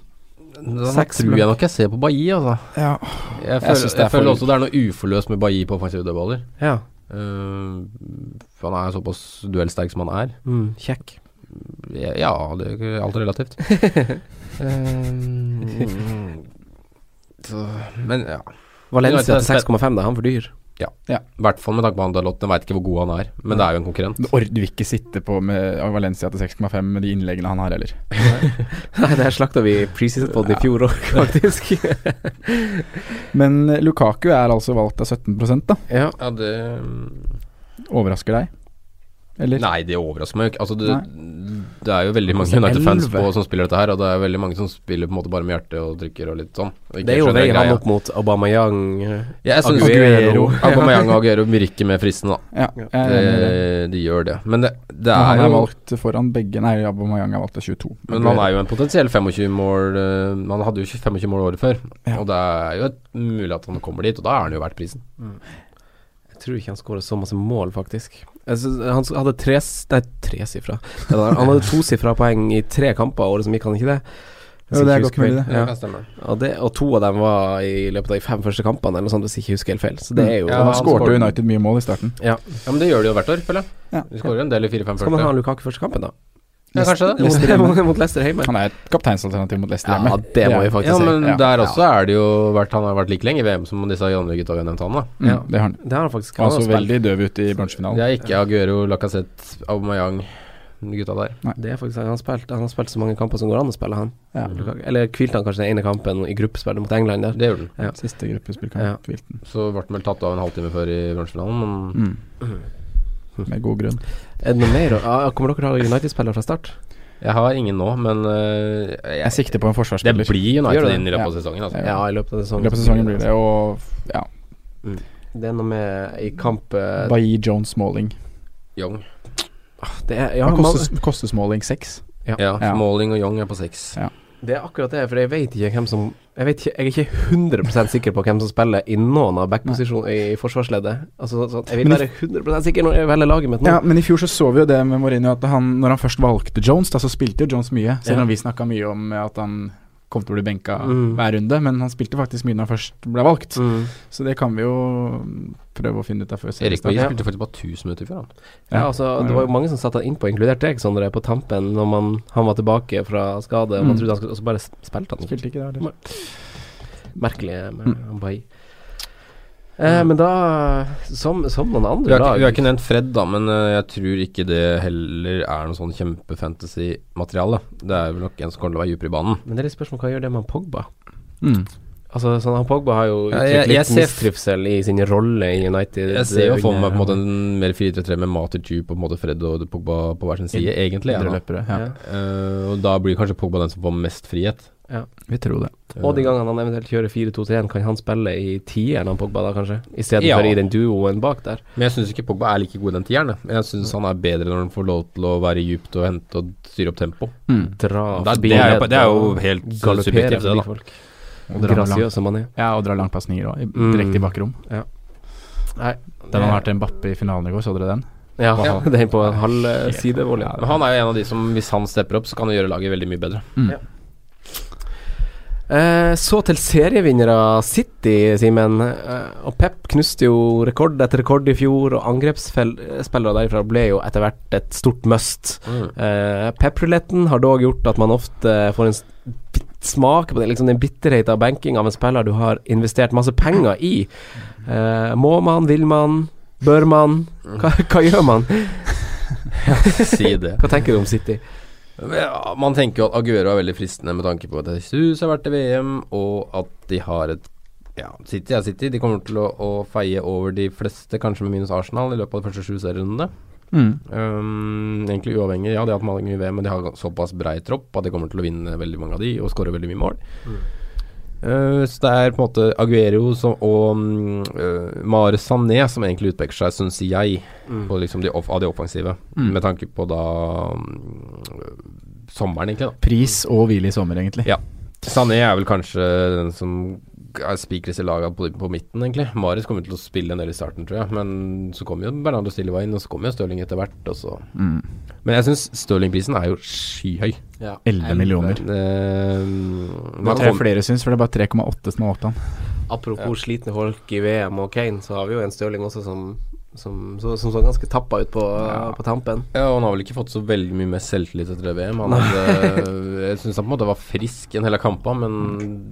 S4: Da
S5: Seks
S4: tror
S5: mål.
S4: jeg nok jeg ser på Bailly, altså.
S6: Ja.
S4: Jeg føler,
S6: synes
S4: jeg
S6: det er for-
S4: føler også det er noe uforløst med Bailly på offensive dødballer.
S5: Ja.
S4: Eh, for han er såpass duellsterk som han er.
S5: Mm, kjekk.
S4: Ja, det er jo ikke alt er relativt. Eh, så, men ja.
S5: Valencia
S4: United
S5: til 6,5, da. Han for dyr.
S4: I hvert fall med tanke på han Dalot. Jeg veit ikke hvor god han er, men det er jo en konkurrent.
S6: Du or- du vil ikke sitte på med Valencia til 6,5 med de innleggene han har heller.
S5: Nei, det her slakta vi i preseason-poden i fjor òg, (laughs) faktisk.
S6: Men eh, Lukaku er altså valgt av 17 da.
S5: ja.
S4: Ja, det
S6: Overrasker deg? Eller?
S4: Nei, det overrasker meg jo ikke. Altså, det, det er jo veldig mange United-fans som spiller dette her, og det er veldig mange som spiller på en måte bare med hjertet og drikker og litt sånn. Og ikke
S5: Det er jo
S4: skjønner
S5: veien han
S4: greia.
S5: opp mot Aubameyang.
S4: Jeg synes
S5: Aguero. (laughs)
S4: Aubameyang og Aguero virker mer fristende, da.
S6: Ja, jeg er enig i det.
S4: Det, de gjør det. Men det, det
S6: Men
S4: er
S6: han er
S4: Eh, jo
S6: valgt foran begge Nei, Aubameyang er valgt til 22.
S4: men han er jo en potensiell 25-mål eh, Han hadde jo 25 mål året før,
S6: Ja.
S4: og det er jo et, mulig at han kommer dit, og da er han jo verdt prisen.
S5: Jeg tror ikke han skårer så masse mål, faktisk. Jeg synes, han s- hadde tre s- Nei, tre sifra. Han hadde tosifra poeng i tre kamper, året som gikk han ikke det? Hvis
S6: Jo, det er
S5: ikke
S6: godt
S5: husker feil.
S6: mulig, det.
S5: Ja.
S4: Det stemmer.
S5: Og, det, og to av dem var i løpet av de fem første kampene, eller noe sånt, hvis jeg ikke husker helt feil. Så det er jo
S4: Ja,
S6: Da
S4: han
S6: skårte
S4: skårte.
S6: United mye mål i starten.
S5: Ja.
S4: Ja, men det gjør de jo hvert år, føler jeg.
S6: Ja.
S4: De skårer en del i 4-5
S5: Skal man
S4: første.
S5: ha Lukaku første kampen, da?
S4: Ja, kanskje det.
S5: Mot- (laughs) Mot, mot Leicester hjemme.
S6: Han er et kapteinsalternativ mot Leicester.
S5: Ja,
S6: hjemme.
S5: det må
S6: er-
S5: vi faktisk
S4: Ja,
S5: si.
S4: men
S6: Ja.
S4: der også er det jo vært Han har vært like lenge i VM som disse andre gutta vi har nevnt han, da.
S6: Mm, Det har han.
S5: Det har han faktisk
S6: Han
S5: han har
S6: så
S5: spilt.
S6: veldig døv ut i
S4: Det
S6: bransjefinalen.
S4: er ikke Aguero, Lacassette, Aubameyang, de gutta der.
S5: Det er faktisk, han, har spilt, han har spilt så mange kamper som går an å spille, han.
S6: Ja.
S5: Lukaku. Eller hvilte han kanskje den ene kampen i gruppespillet mot England der?
S4: Det gjorde han.
S5: Ja.
S6: Siste
S5: Ja.
S6: gruppespillkamp. Wilton.
S4: Så ble han vel tatt av en halvtime før i bransjefinalen, men
S6: Mm. Med god grunn.
S5: Er det noe mer? å- Ah, Kommer dere til å ha United-spillere fra start?
S4: jeg har ingen nå. Men øh,
S6: Jeg sikter på en
S4: det
S6: forsvarsspiller.
S4: blir
S6: Gjør
S4: United
S6: det?
S4: inn i løpet av
S6: Ja.
S4: sesongen, altså.
S6: Ja.
S5: Ja, i løpet av
S6: I
S5: sesongen.
S6: løpet av sesongen blir det, og ja,
S5: Det er noe med i kamp eh,
S6: Bailly Jones Smalling.
S4: Young.
S5: Det er, ja,
S6: Han
S5: man,
S6: koster, koster Smalling seks.
S4: Ja,
S6: Ja.
S4: Smalling og Young er på seks.
S6: Ja.
S5: det er akkurat det, for jeg vet ikke hvem som Jeg, vet ikke, jeg er ikke 100 sikker på hvem som spiller i noen av backposisjonene i forsvarsleddet. Altså, sånn- jeg vil
S6: Men-
S5: være 100 sikker når jeg velger laget mitt nå.
S6: Ja,
S4: Mm.
S6: men i fjor så så vi jo det med Mourinho at han, når han først valgte Jones, da så spilte jo Jones mye. Selv om vi snakka mye om at han kom til å bli benka
S5: Mm.
S6: hver runde, men han spilte faktisk mye når han først ble valgt.
S5: Mm.
S6: Så det kan vi jo prøve å finne ut av før
S4: Erik
S6: seriestart.
S4: Bailly spilte faktisk bare 1000 minutter i fjor, han.
S5: Ja, altså, det var jo mange som satte han innpå, inkludert deg, Sondre, på tampen når man, han var tilbake fra skade, og man
S6: Mm.
S5: trodde han skulle Og så bare sp- spilte han.
S6: Spilte ikke det,
S4: Mm.
S6: eller?
S5: Merkelig med Ambai. Eh, men da Som, som noen
S4: Mm. Vi
S5: andre
S4: har, ikke- vi har
S5: lag
S4: ikke nevnt Fred, da, men øh, jeg tror ikke det heller er noe sånn kjempefantasy-materiale. Det er vel nok en som kommer til å være dypere i banen.
S5: Men det er litt spørsmål hva gjør det med han Pogba?
S6: Mm.
S5: Altså, sånn, han Pogba har jo
S4: Ja,
S5: uttrykt
S4: jeg- jeg
S5: litt
S4: ser f-
S5: mistrivsel i sin rolle i United.
S4: Jeg ser jo for meg på en måte en mer 4-3-3 med Mater Jupe og på en måte Fred og Pogba på hver sin side, egentlig. Ja,
S6: Indre
S4: da.
S6: løpere, ja.
S5: Ja.
S4: Eh, og da blir kanskje Pogba den som får mest frihet.
S6: Vi tror det.
S5: Og de gangene han eventuelt kjører 4-2-3-1, kan han spille i tieren, han Pogba, da kanskje?
S4: Ja.
S5: Istedenfor for i den duoen bak der.
S4: Men jeg syns ikke Pogba er like god i den tieren. jeg. Jeg syns han er bedre når han får lov til å være dypt og hente og styre opp tempo.
S5: Dra
S4: Det er-
S5: forbi
S4: det er jo-
S5: ledd
S4: det er jo
S5: og
S4: helt
S5: galoppere
S4: subjektivt, det, da.
S5: forbi folk.
S6: Og dra lang-
S5: Grasiøs som han er.
S6: Ja, og dra langpasninger òg,
S5: Mm.
S6: direkte i bakrom.
S5: Nei,
S6: Den han har til Mbappe i finalen i går, så dere den?
S5: ja,
S6: Hva
S5: (laughs)
S6: han-
S5: det er på en halv eh, side volley.
S4: Men han er jo en av de som, hvis (laughs) han stepper opp, så kan han gjøre laget veldig mye bedre.
S5: Mm. Eh, så til serievinnere City, Simen. Eh, og Pep knuste jo rekord etter rekord i fjor, og angrepsspillere derifra ble jo etter hvert et stort must.
S4: Mm.
S5: Eh, Pep-ruletten har dog gjort at man ofte får en s- bit- smak på det, liksom den bitterheten av banking av en spiller du har investert masse penger i. Eh, må man, vil man, bør man? Hva, hva gjør man?
S4: Si det.
S5: Hva tenker du om City?
S4: Ja, Man tenker jo at Aguero er veldig fristende med tanke på at Jesus har vært i VM, og at de har et Ja, City er City. De kommer til å, å feie over de fleste, kanskje med minus Arsenal, i løpet av de første sju serierundene. Mm. Um, egentlig uavhengig. Ja, de har hatt mange i VM, men de har såpass brei tropp at de kommer til å vinne veldig mange av de, og skåre veldig mye mål. Uh, så det er på en måte Aguero som, og um, uh, Mare Sané som egentlig utpeker seg, syns jeg, på liksom de off, av de offensive. Med tanke på da um, uh, sommeren, egentlig. da
S6: Pris og hvile i sommer, egentlig.
S4: Ja. Sané er vel kanskje den som er spikres i laget på, på midten, egentlig. Marius kommer til å spille en del i starten, tror jeg. Men så kommer jo Bernardo Silva inn, og så kommer jo Stirling etter hvert. Og så.
S6: Mm.
S4: Men jeg syns Stirling-prisen er jo skyhøy. Ehm,
S6: 11 millioner.
S4: Det, um,
S6: Det tror jeg flere syns, for det er bare 3,8 som har valgt han.
S5: Apropos slitne folk i VM og Kane, så har vi jo en Stirling også som, som, så, som så ganske tappa ut på, på tampen.
S4: Ja, og han har vel ikke fått så veldig mye mer selvtillit etter det VM. Han hadde, jeg syns han på en måte var frisk en hel kamp, men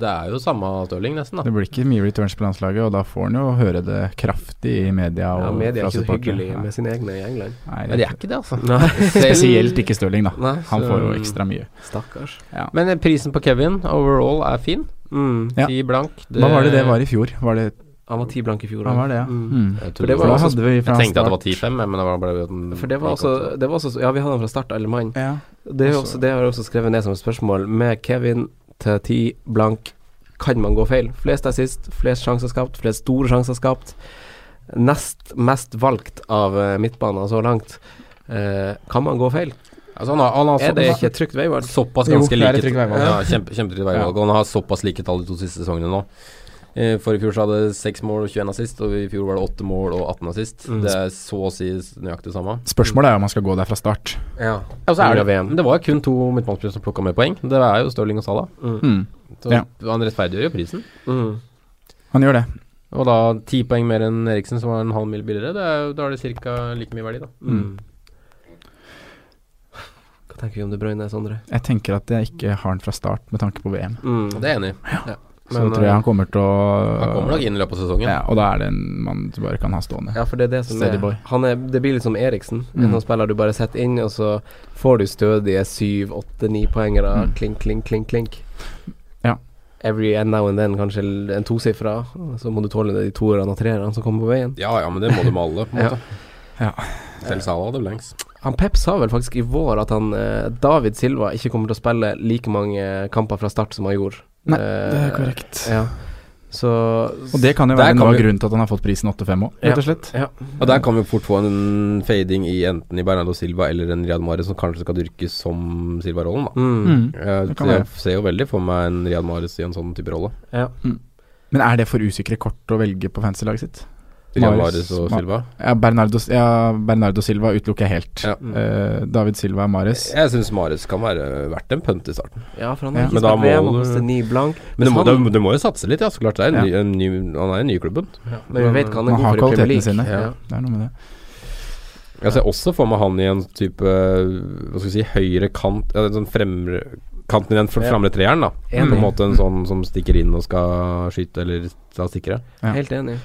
S4: det er jo samme Stirling, nesten.
S6: Det
S4: da
S6: blir ikke mye returns på landslaget, og da får han jo høre det kraftig i media. Og
S5: Ja, Media er
S6: fra
S5: ikke så
S6: supportere.
S5: hyggelig med sine egne i England.
S6: Nei,
S4: Men
S6: det
S4: det
S6: er
S4: er
S6: ikke.
S4: ikke det, altså.
S6: Spesielt ikke Stirling, da.
S5: Nei,
S6: han
S4: så-
S6: får jo ekstra mye.
S5: Stakkars.
S4: Men eh, prisen på Kevin overall er fin.
S5: Mm.
S6: Ja.
S4: Ti blank.
S6: Hva var det det var i fjor? Var det
S5: Han var ti blank i fjor.
S6: Han var det, ja. Mm.
S4: Jeg,
S5: For det var
S6: For da
S5: også-
S6: hadde vi fra
S4: jeg tenkte at det var
S6: start-
S4: 10-5, men det var bare at den
S5: For det var
S4: gikk opp.
S5: også, det var også Ja, vi hadde han fra start, alle mann.
S6: Ja.
S5: Det, er jo også, det har jeg også skrevet ned som et spørsmål. Med Kevin til ti blank, kan man gå feil? Flest assist, flest sjanser skapt, flest store sjanser skapt. Nest mest valgt av eh, midtbanen så langt. Eh, kan man gå feil?
S4: Altså, han har, han har
S5: Er det
S4: såpass,
S5: ikke et trygt veivalg?
S4: såpass
S6: Jo,
S4: ganske
S6: det er et
S4: like
S6: trygt veivalg.
S4: Ja, kjempe, kjempetrygt veivalg. Og han har såpass like tall de to siste sesongene nå. Eh, For i fjor så hadde 6 mål og 21 assist, og i fjor var det 8 mål og 18 assist.
S6: Mm.
S4: Det er så å si nøyaktig det samme.
S6: Spørsmålet er om man skal gå der fra start.
S5: Ja.
S4: Ja, og
S5: På
S4: så
S5: grunn
S4: er
S5: av
S4: det,
S5: VM.
S4: men det var jo kun to midtbanespillere som plukka med poeng. Det er jo Stirling og Salah.
S5: Hmm.
S6: Mm.
S4: Så
S6: Ja.
S4: han rettferdiggjør jo prisen.
S5: Mm.
S6: Han gjør det.
S4: Og da ti poeng mer enn Eriksen, som var en halv mil billigere, det er, jo- da er det ca. like mye verdi, da.
S6: Mm.
S4: Mm.
S5: Hva tenker vi om De Bruyne, Sondre?
S6: Jeg tenker at jeg ikke har han fra start med tanke på VM.
S5: Mm.
S4: Og Det er jeg enig i.
S6: Så
S4: Men,
S6: tror jeg
S4: eh,
S6: han kommer til å
S4: Han kommer nok inn i løpet av sesongen.
S6: ja, Og da er det en mann du bare kan ha stående.
S5: Ja, for det er det som
S6: Steady
S5: er,
S6: boy.
S5: han er Det blir litt som Eriksen.
S6: Mm.
S5: En spiller du bare setter inn, og så får du stødige syv, åtte, ni poengere.
S6: Mm.
S5: Klink, klink, klink, klink.
S6: Ja.
S5: Every and now and then, kanskje l- en tosifra. Så må du tåle det de toerne og treerne som kommer på veien.
S4: Ja, ja, men det må du med alle, på en
S5: Ja.
S4: måte.
S6: Ja.
S4: Selv Salah hadde blanks.
S5: Han Pep sa vel faktisk i vår at han eh, David Silva ikke kommer til å spille like mange kamper fra start som han gjorde.
S6: Nei,
S5: Eh,
S6: det er korrekt.
S5: Ja. Så
S6: Og det kan jo
S4: Der
S6: være
S4: kan
S6: noe av
S4: vi-
S6: grunnen til at han har fått prisen 8-5 òg, rett og slett.
S5: ja.
S4: Og der kan vi fort få en fading i enten i Bernardo Silva eller en Riyad Mahrez som kanskje skal dyrkes som Silva-rollen, da.
S5: Mm.
S6: Mm.
S4: Jeg,
S6: Det kan
S4: jeg
S6: være.
S4: ser jo veldig for meg en Riyad Mahrez i en sånn type rolle.
S6: Men er det for usikre kort å velge på fancy-laget sitt?
S4: Riyad
S6: Mahrez,
S4: Mahrez og
S6: Ma-
S4: Silva.
S6: Ja, Bernardo, ja, Bernardo Silva utelukker jeg helt.
S4: Ja.
S6: Eh, David Silva Mares.
S4: Jeg syns Mahrez kan være verdt en punt i starten.
S5: ja, for han
S6: Ja.
S5: har ikke
S4: Men da
S5: spilt VM
S4: må
S5: og
S4: du-
S5: koster ni blank.
S4: Men du må,
S5: Hvis han-
S4: du, du må jo satse litt, ja. Så klart. Det er en
S6: Ja.
S4: ny, en ny, han er i nyklubben.
S5: Men vi vet hva han er
S6: Man har
S5: god for i Premier
S6: kvalitetene
S5: League.
S6: sine.
S5: Ja.
S6: Det er noe med det.
S4: Jeg ser også for meg han i en type Hva skal vi si høyre kant ja, en sånn fremre, Kanten i den fr-
S5: Ja.
S4: framre treeren, da.
S5: Enig.
S4: På en måte en sånn som stikker inn og skal skyte, eller ta stikkere.
S6: Ja.
S5: Helt enig.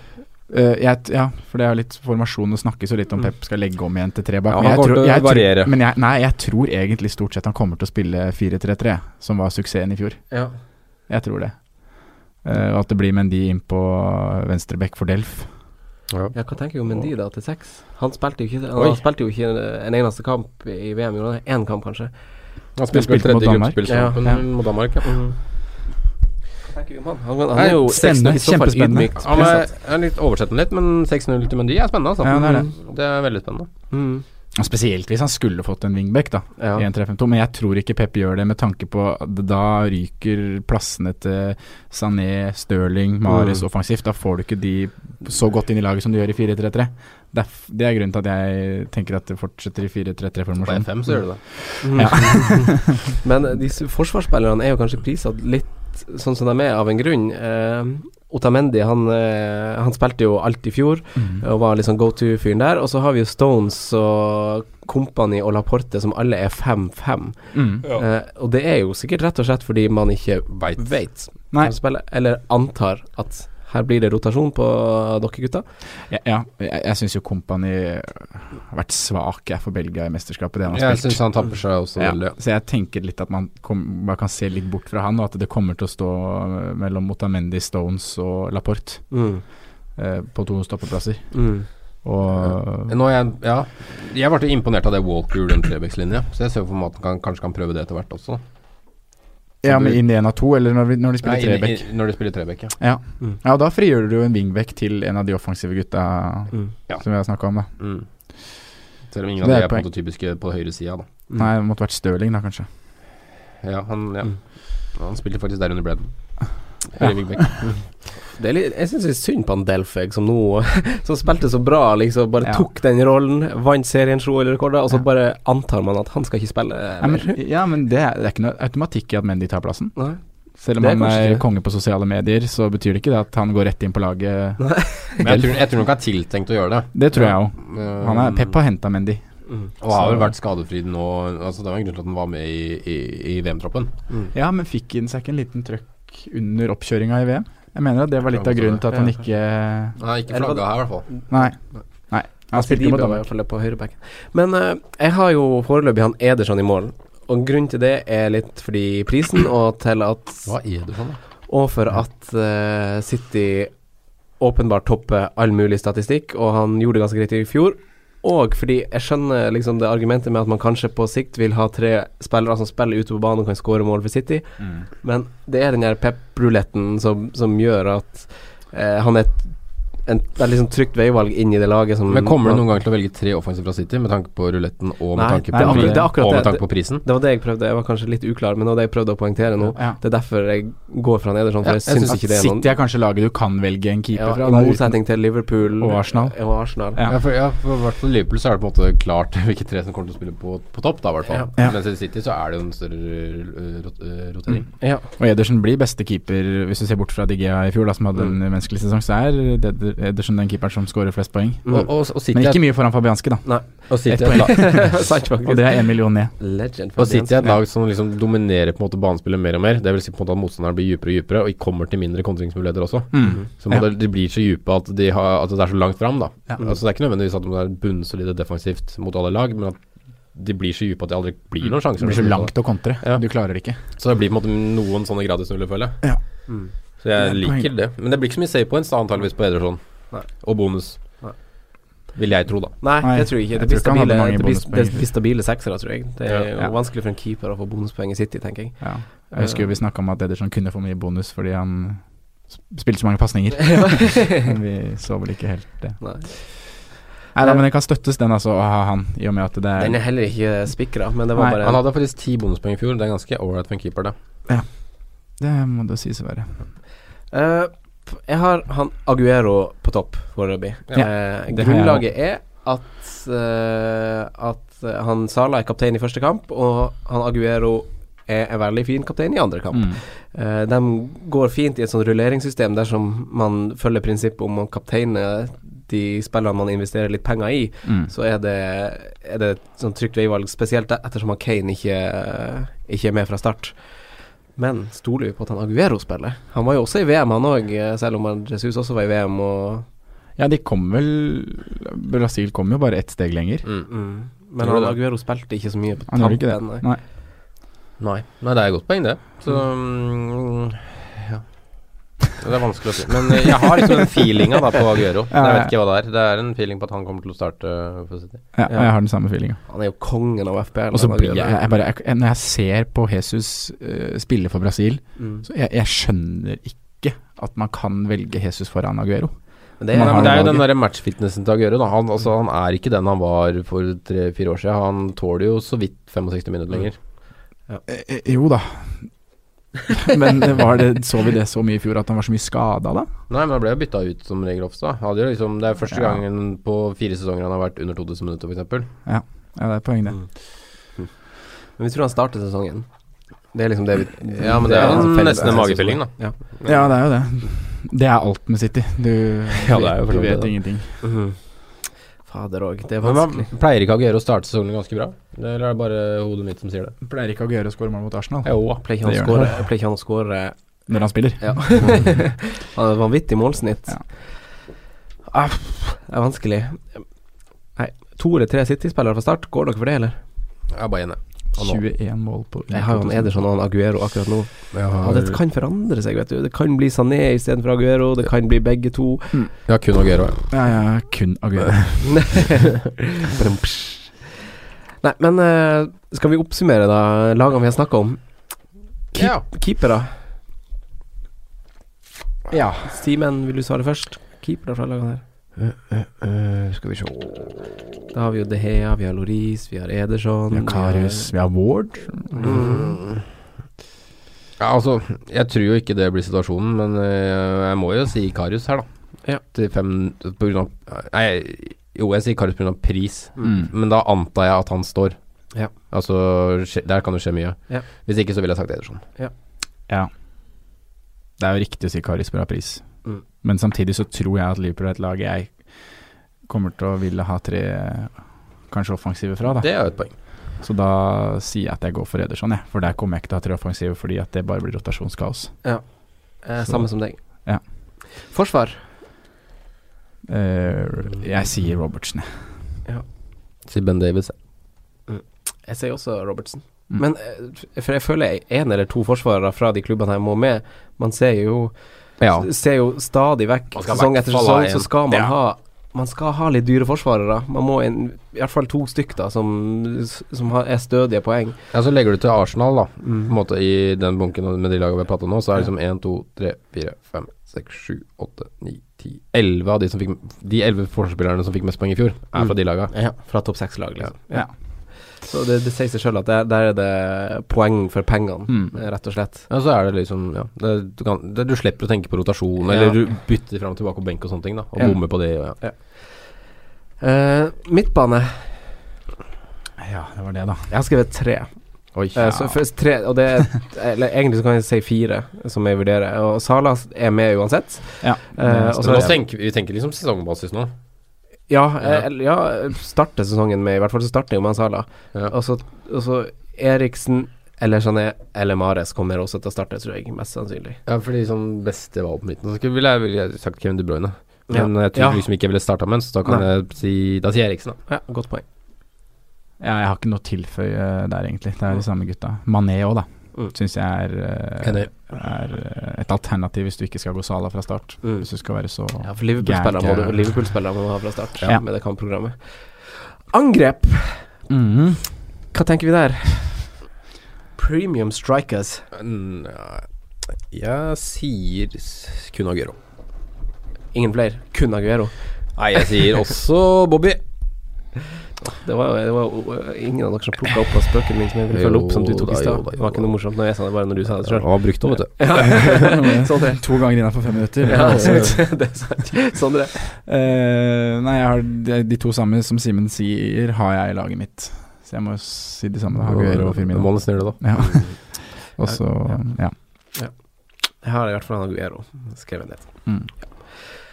S6: Eh, jeg, t- ja, for det er jo litt formasjon å snakke så litt om Pep skal legge om igjen til tre bak.
S4: Mm. Ja,
S6: men
S4: han
S6: jeg
S4: kommer
S6: tror-
S4: til å
S6: jeg
S4: variere.
S6: Tror, men jeg, nei, jeg tror egentlig stort sett han kommer til å spille 4-3-3, som var suksessen i fjor.
S5: Ja.
S6: Jeg tror det. Eh, Og at det blir Mendy inn på venstre bekk for Delf.
S5: Ja, hva tenker du om Mendy da, til seks? Han spilte jo ikke,
S4: Oi.
S5: han spilte jo ikke en eneste kamp i VM, gjorde han det? Én kamp, kanskje?
S4: Han
S6: spilte
S4: spilte vel
S6: spilte mot
S4: tredje
S6: Danmark.
S4: gruppespillkampen
S6: Ja.
S4: mot Danmark, ja.
S5: Mm. Hva tenker vi om han? Han, han er jo
S6: spennende,
S5: i så fall
S6: kjempespennende.
S5: ydmykt
S4: Han er,
S5: prissatt.
S4: er litt oversettende litt, men 6-0 til Mendy er spennende, altså.
S6: Ja, det er
S4: det. det er veldig spennende.
S5: Mm.
S6: Og Spesielt hvis han skulle fått en wingback, da.
S5: Ja.
S6: I en 3-5-2, Men jeg tror ikke Pep gjør det, med tanke på at da ryker plassene til Sané, Stirling, Mares offensivt. Da får du ikke de så godt inn i laget som du gjør i 4-3-3. Det er, f- det er grunnen til at jeg tenker at det fortsetter i
S4: På
S6: 4-3-3-formasjonen.
S4: FM så gjør det det.
S5: Mm. (laughs) Men de s- forsvarsspillerne er jo kanskje prisatt litt sånn som de er, av en grunn. Eh, Otamendi, han, eh, han spilte jo alt i fjor,
S4: Mm.
S5: og var liksom go to-fyren der. Og så har vi jo Stones og Company og Laporte, som alle er 5-5.
S6: Mm.
S5: Eh, og det er jo sikkert rett og slett fordi man ikke
S4: Veit.
S5: vet
S6: Nei.
S5: hvem som spiller, eller antar at her blir det rotasjon på dere gutta.
S6: Ja, ja, jeg, jeg syns jo Kompani har vært svak jeg, for Belgia i mesterskapet, det han har
S4: Jeg
S6: spilt.
S4: syns han tapper seg også
S6: Ja,
S4: veldig.
S6: så jeg tenker litt at man kom, bare kan se litt bort fra han, og at det kommer til å stå eh, mellom Otamendi, Stones og Laporte
S5: Mm.
S6: eh, på to stoppeplasser.
S5: Mm.
S6: Og
S4: Nå er jeg, ja, jeg ble jo imponert av det Walker gjorde i den trebekslinja, så jeg ser for meg at han kan, kanskje kan prøve det etter hvert også.
S6: Ja,
S4: du-
S6: men inn i en av to, eller når, vi, når
S4: Nei,
S6: de spiller
S4: inn-
S6: trebekk.
S4: inn- Når de spiller trebekk, ja.
S6: Ja.
S5: Mm.
S6: ja, og da frigjør du jo en wingback til en av de offensive gutta
S5: Mm.
S4: Ja.
S6: som vi har snakka om, da.
S4: Mm. Selv om ingen
S6: Så
S4: av
S6: det
S4: de
S6: er
S4: er på en
S6: poeng.
S4: måte typiske på høyre sida, da.
S5: Mm.
S6: Nei, det måtte vært Stirling, da, kanskje.
S4: Ja, han, ja.
S5: Mm.
S4: han spilte faktisk der under Bredden.
S6: Ja.
S4: Høyre wingback.
S5: Det er litt, jeg syns det er synd på han Delfeg, som nå (laughs) Som spilte så bra, liksom. Bare
S6: Ja.
S5: tok den rollen, vant seriens OL-rekorder, og så bare antar man at han skal ikke spille. eh,
S6: Ja, men,
S5: mer.
S6: ja, men det, er, det er ikke noe automatikk i at Mendy tar plassen.
S5: Nei.
S6: Selv om
S5: Det er
S6: han
S5: kanskje
S6: er
S5: ikke.
S6: konge på sosiale medier, så betyr det ikke det at han går rett inn på laget.
S4: Men jeg tror, jeg tror nok han har tiltenkt å gjøre det.
S6: Det tror jeg òg.
S4: Eh,
S6: Han er Pep har henta Mendy.
S4: Og har vel vært skadefri nå altså Det var en grunn til at han var med i, i, i VM-troppen.
S6: Ja, men fikk han seg ikke en liten trøkk under oppkjøringa i VM? Jeg mener at det var litt av grunnen til at han ikke
S4: Han har ikke
S5: Eller var
S4: flagga her, i hvert fall.
S6: Nei. Nei. Han spilte jo
S5: Sidibe
S6: mot
S5: var i hvert
S6: Danmark.
S5: fall på høyrebacken. Men eh, jeg har jo foreløpig han Ederson i mål, og grunnen til det er litt fordi prisen, og til at
S4: Hva er det for noe?
S5: Og for at eh, City åpenbart topper all mulig statistikk, og han gjorde det ganske greit i fjor. Og fordi jeg skjønner liksom det argumentet med at man kanskje på sikt vil ha tre spillere som spiller ute på banen og kan skåre mål for City, mm. men det er den der pep-ruletten som, som, gjør at eh, han er et en, det er liksom trygt veivalg inn i det laget som
S4: Men Kommer du noen gang til å velge tre offensive fra City med tanke på ruletten og med
S5: nei,
S4: tanke på, nei,
S5: det, det
S4: og med tanke på prisen?
S5: Det, det, var det jeg prøvde, jeg var kanskje litt uklar, men det var det jeg prøvde å poengtere nå. Ja. Det er derfor jeg går fra Nederland, for ja, jeg, jeg syns ikke det
S6: er noen City er kanskje laget du kan velge en keeper ja, fra?
S5: I motsetning til Liverpool
S6: og Arsenal.
S5: Og Arsenal.
S4: Ja. for, ja, for hvert fall Liverpool så er det på en måte klart (laughs) hvilke tre som kommer til å spille på, på topp, da i hvert fall. Mens i City så er det jo en større eh, rot rotering.
S6: Mm. Og Edersen blir beste keeper, hvis du ser bort fra Digea i fjor, da, som hadde en menneskelig sesong, så er det Edersen den keeperen som skårer flest poeng. Mm. Og, og, og Men ikke mye foran Fabianski, da.
S5: Nei.
S6: Og City
S5: (laughs)
S6: er og det er én million ned.
S4: Legend, og City er et lag som liksom dominerer på en måte banespillet mer og mer. Det vil si på en måte at motstanderen blir dypere og dypere, og kommer til mindre kontringsmuligheter også. Mm. Så ja. de blir så dype at, de har, at, det er så langt fram, da. Ja. Mm. Altså, det er ikke nødvendigvis at de er bunnsolide defensivt mot alle lag, men at de blir så dype at det aldri blir noen sjanser.
S6: Det Mm. blir så langt å kontre. Ja. Du klarer det ikke.
S4: Så det blir på en måte noen sånne gradisnuller, føler jeg. Ja. Så jeg liker det. Men det blir ikke så mye save points, da, antakeligvis, på Ederson. Nei. Og bonus. Nei. Vil jeg tro, da.
S5: Nei, jeg tror ikke. Det blir stabile, det blir, det blir stabile seksere, tror jeg. Det er jo ja. vanskelig for en keeper å få bonuspoeng i City, tenker jeg. Ja.
S6: Jeg husker jo vi snakka om at Ederson kunne få mye bonus fordi han spilte så mange (laughs) pasninger. men vi så vel ikke helt det. Nei. Nei da, men det kan støttes, den altså, å ha han, i og med at det
S5: er Den er heller ikke spikra, men det var
S4: Nei.
S5: bare
S4: Han hadde faktisk ti bonuspoeng i fjor, det er ganske ålreit for en keeper, det.
S6: Ja. Det må det sies å være.
S5: Uh, jeg har han Aguero på topp foreløpig. Ja, uh, grunnlaget er at, uh, at han Sala er kaptein i første kamp, og han Aguero er en veldig fin kaptein i andre kamp. Mm. de går fint i et sånt rulleringssystem dersom man følger prinsippet om å kapteine de spillene man investerer litt penger i, mm. så er det, er det et sånt trygt veivalg, spesielt ettersom Kane ikke, ikke er med fra start. Men stoler vi på at han Aguero spiller? Han var jo også i VM, han òg, selv om Jesus også var i VM og
S6: Ja, de kom vel Brasil kom jo bare ett steg lenger. Mm,
S5: mm. Men han, Aguero spilte ikke så mye på eh.
S6: han tampen. Nei.
S4: Nei. Nei. Nei. det er et godt poeng, det. Så mm. Ja. Det er vanskelig å si. Men jeg har liksom den feelinga da på Aguero. Ja, jeg vet ikke hva det er. Det er en feeling på at han kommer til å starte eh, for City.
S6: Ja, jeg har den samme feelinga.
S5: Han er jo kongen av FPL.
S6: Og så blir jeg, jeg bare jeg, Når jeg ser på Jesus uh, spille for Brasil, mm. så jeg, jeg, skjønner ikke at man kan velge Jesus foran Aguero.
S4: Men det, er, men det er jo den derre matchfitnessen til Aguero. Da. Han, altså, han er ikke den han var for tre-fire år siden. Han tåler jo så vidt 65 minutter lenger.
S6: Ja. E, jo da, (laughs) men var det, så vi det så mye i fjor at han var så mye skada, da?
S4: Nei, men han ble jo bytta ut som regel ofte. Liksom, det er første ja. gangen på fire sesonger han har vært under 2000 minutter, f.eks.
S6: Ja. ja, det er poeng, det.
S5: Mm. Men vi tror han starter sesongen. Det er liksom det vi
S4: Ja, men Mm. det, det er, en, er nesten en magefylling, da.
S6: Ja.
S5: Mm,
S6: ja. det er jo det. Det er alt med City.
S5: (laughs)
S6: Du, ja, du vet, vet ingenting. Uh -huh.
S5: Mhm. Fader òg, det er vanskelig.
S4: Men Pleier ikke Aguero å starte sesongen ganske bra? Eller er det bare hodet mitt som sier det?
S6: Pleier ikke Aguero å skåre mål mot Arsenal?
S5: Jo, pleier ikke han eh, å skåre
S6: Når han spiller? (laughs)
S5: Ja. han har vanvittig målsnitt. Ja. Ah, det er vanskelig. Nei, to eller tre City-spillere fra start, går dere for det, eller?
S4: Jeg bare enig.
S6: 21 mål på
S5: Jeg har jo Ederson og Aguero akkurat nå. Ja, det kan forandre seg, vet du. Det kan bli Sané istedenfor Aguero, det kan bli begge to. Mm.
S4: Ja, kun Aguero.
S6: Ja, ja, kun Aguero.
S5: Nei, men eh, skal vi oppsummere, da, lagene vi har snakka om? Keep, ja. Keepere. Ja. Simen, vil du svare først? Keepere fra lagene her.
S4: Uh, uh, uh, skal vi se
S5: Da har vi jo De Hea, vi har Loris, vi har Ederson
S6: Vi har Karius, vi har Ward.
S4: Mm. Ja, altså, jeg tror jo ikke det blir situasjonen, men eh, jeg må jo si Karius her, da. Ja. Til fem på grunn av Nei, jo, jeg sier Karius pga. pris, mm. men da antar jeg at han står. Ja. Altså, der kan det skje mye. Ja. Hvis ikke så ville jeg sagt Ederson.
S6: Ja. ja. Det er jo riktig å si Karius pga. pris. Mm. Men samtidig så tror jeg at Liverpool er et lag jeg kommer til å ville ha tre kanskje offensive fra. Da.
S4: Det er jo et poeng.
S6: Så da sier jeg at jeg går for Ederson, jeg. For der kommer jeg ikke til å ha tre offensive fordi at det bare blir rotasjonskaos.
S5: Ja. Eh, samme som deg.
S6: Ja.
S5: Forsvar?
S6: Eh, jeg sier Robertsen, jeg.
S4: Ja. Sier Ben Davies.
S5: Mm. Jeg sier også Robertsen. Mm. Men for jeg føler én eller to forsvarere fra de klubbene her må med. Man ser jo ja. ser jo stadig vekk sesong etter sesong, så skal man ja. ha man skal ha litt dyre forsvarere. Man må en, i hvert fall to stykk da, som, som har, er stødige poeng.
S4: Ja, Så legger du til Arsenal, da. Mm. På en måte I den bunken med de lagene vi har prata nå, så er det liksom 1, 2, 3, 4, 5, 6, 7, 8, 9, 10 11 av de som fikk De 11 forsvarsspillerne som fikk mest poeng i fjor, er fra de lagene.
S5: Ja, fra topp seks-lag, liksom. Ja. Så det, det sier seg sjøl at der, der, er det poeng for pengene, mm. rett og slett.
S4: Ja, så er det liksom ja, det, du, kan, det, du, slipper å tenke på rotasjon, ja. eller du bytter fram og tilbake på benk og sånne ting, da, og ja. bommer på det. Ja.
S5: Uh, midtbane.
S6: Ja, det var det, da.
S5: Jeg har skrevet tre.
S6: Oi,
S5: uh, så først tre, og det Eller egentlig så kan jeg si fire, som jeg vurderer. Og Sala er med uansett.
S6: Ja.
S5: Eh,
S4: Uh, nå tenker, vi tenker liksom sesongbasis nå.
S5: Ja, jeg, ja, starte sesongen med I hvert fall så starter jo med Sala. Ja. Og, så, og, så, Altså, Eriksen eller Jané eller Mares kommer også til å starte, tror jeg. Mest sannsynlig.
S4: Ja, for de som beste valg på midten Så ville jeg, vil jeg sagt Kevin De Bruyne. Men ja. jeg tror liksom ikke jeg ville starta med en, så da kan Nei. jeg si Da sier Eriksen,
S5: da. Ja, godt poeng.
S6: Ja, jeg har ikke noe å tilføye der, egentlig. Det er de samme gutta. Mané òg, da. Mm. Syns jeg er, eh, er, eh, et alternativ hvis du ikke skal gå Sala fra start. Mm. Hvis du skal være så eh,
S5: Ja, for Liverpool-spillere må, du, Liverpool må ha fra start ja. med det kampprogrammet. Angrep. (laughs)
S6: Mm.
S5: Hva tenker vi der? Premium strikers.
S4: Jeg sier kun Aguero.
S5: Ingen flere? Kun Aguero?
S4: Nei, jeg (laughs) sier også Bobby.
S5: Det var, det var, ingen av dere som plukka opp av spøken min som jeg ville følge opp, som du tok i stad. Det var ikke noe morsomt når jeg sa det, bare når du sa det sjøl.
S4: Ja,
S5: (laughs)
S4: brukt òg,
S6: (laughs)
S5: vet
S6: du. Sånn To ganger innafor fem
S5: Sånn
S6: minutter.
S5: Ja, (laughs) det er sant. Sånn det er.
S6: Uh, nei, jeg har de, de to samme som Simen sier, har jeg i laget mitt. Så jeg må si de samme. Haguero og Firmino.
S4: Må nesten gjøre det,
S6: da. Ja. (laughs) Og så, ja.
S5: ja. Jeg har i hvert fall Haguero skrevet ned.
S6: Mm. Ja.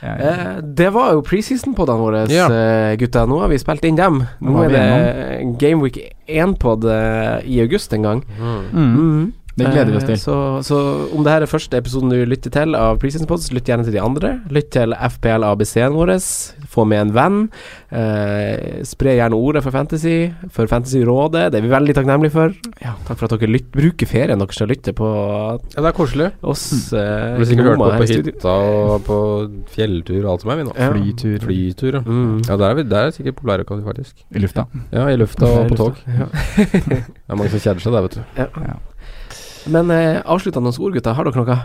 S5: Ja, ja. Eh, det var jo preseason-podene våre, ja. eh, gutta. Nå har vi spilt inn dem. Nå, Nå er det Gameweek 1-pod eh, i august en gang. Eh,
S6: Mm. Mm. Mm. Det gleder vi
S4: eh,
S6: oss til.
S5: Så, så, om det her er første episoden du lytter til av preseason pods, lytt gjerne til de andre. Lytt til FPL ABC-en vår. Få med en venn. Eh, spre gjerne ordet for Fantasy, for Fantasyrådet. Det er vi veldig takknemlige for. Takk for at dere lyt, bruker ferien deres til å lytte på
S4: Ja, det er koselig.
S5: oss. eh,
S4: Mm. Hvis ikke hørt på på hytta og på fjelltur og alt som er, vi nå.
S6: Ja. Flytur.
S4: Flytur, ja. Mm. ja der, er vi, der er sikkert populærøkonomi, faktisk.
S6: I lufta.
S4: Ja, i lufta og på
S6: (laughs)
S4: tog. Ja. det er mange som kjeder seg der, vet du.
S5: Ja. ja. Men eh, avsluttende ord, gutter. Har dere noe?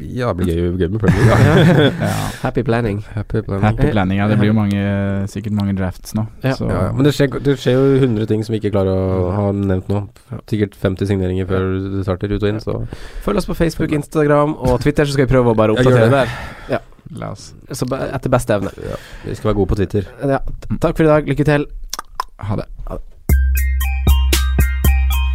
S4: Ja, det blir gøy, gøy med Premier League.
S5: ja. (laughs) Happy planning.
S4: (laughs) Happy planning.
S6: Happy planning, ja. Det blir jo mange, sikkert mange drafts nå.
S4: Eh, Ja. Ja, Men det skjer, det skjer, jo 100 ting som vi ikke klarer å ha nevnt nå. Sikkert 50 signeringer før det starter, ut og inn. Så.
S5: Følg oss på Facebook, Instagram og Twitter, så skal vi prøve å bare oppdatere der.
S6: Ja.
S5: La oss. Så etter beste evne.
S4: Vi skal være gode på Twitter.
S5: Takk for i dag. Lykke til.
S6: Ha det. Ha det.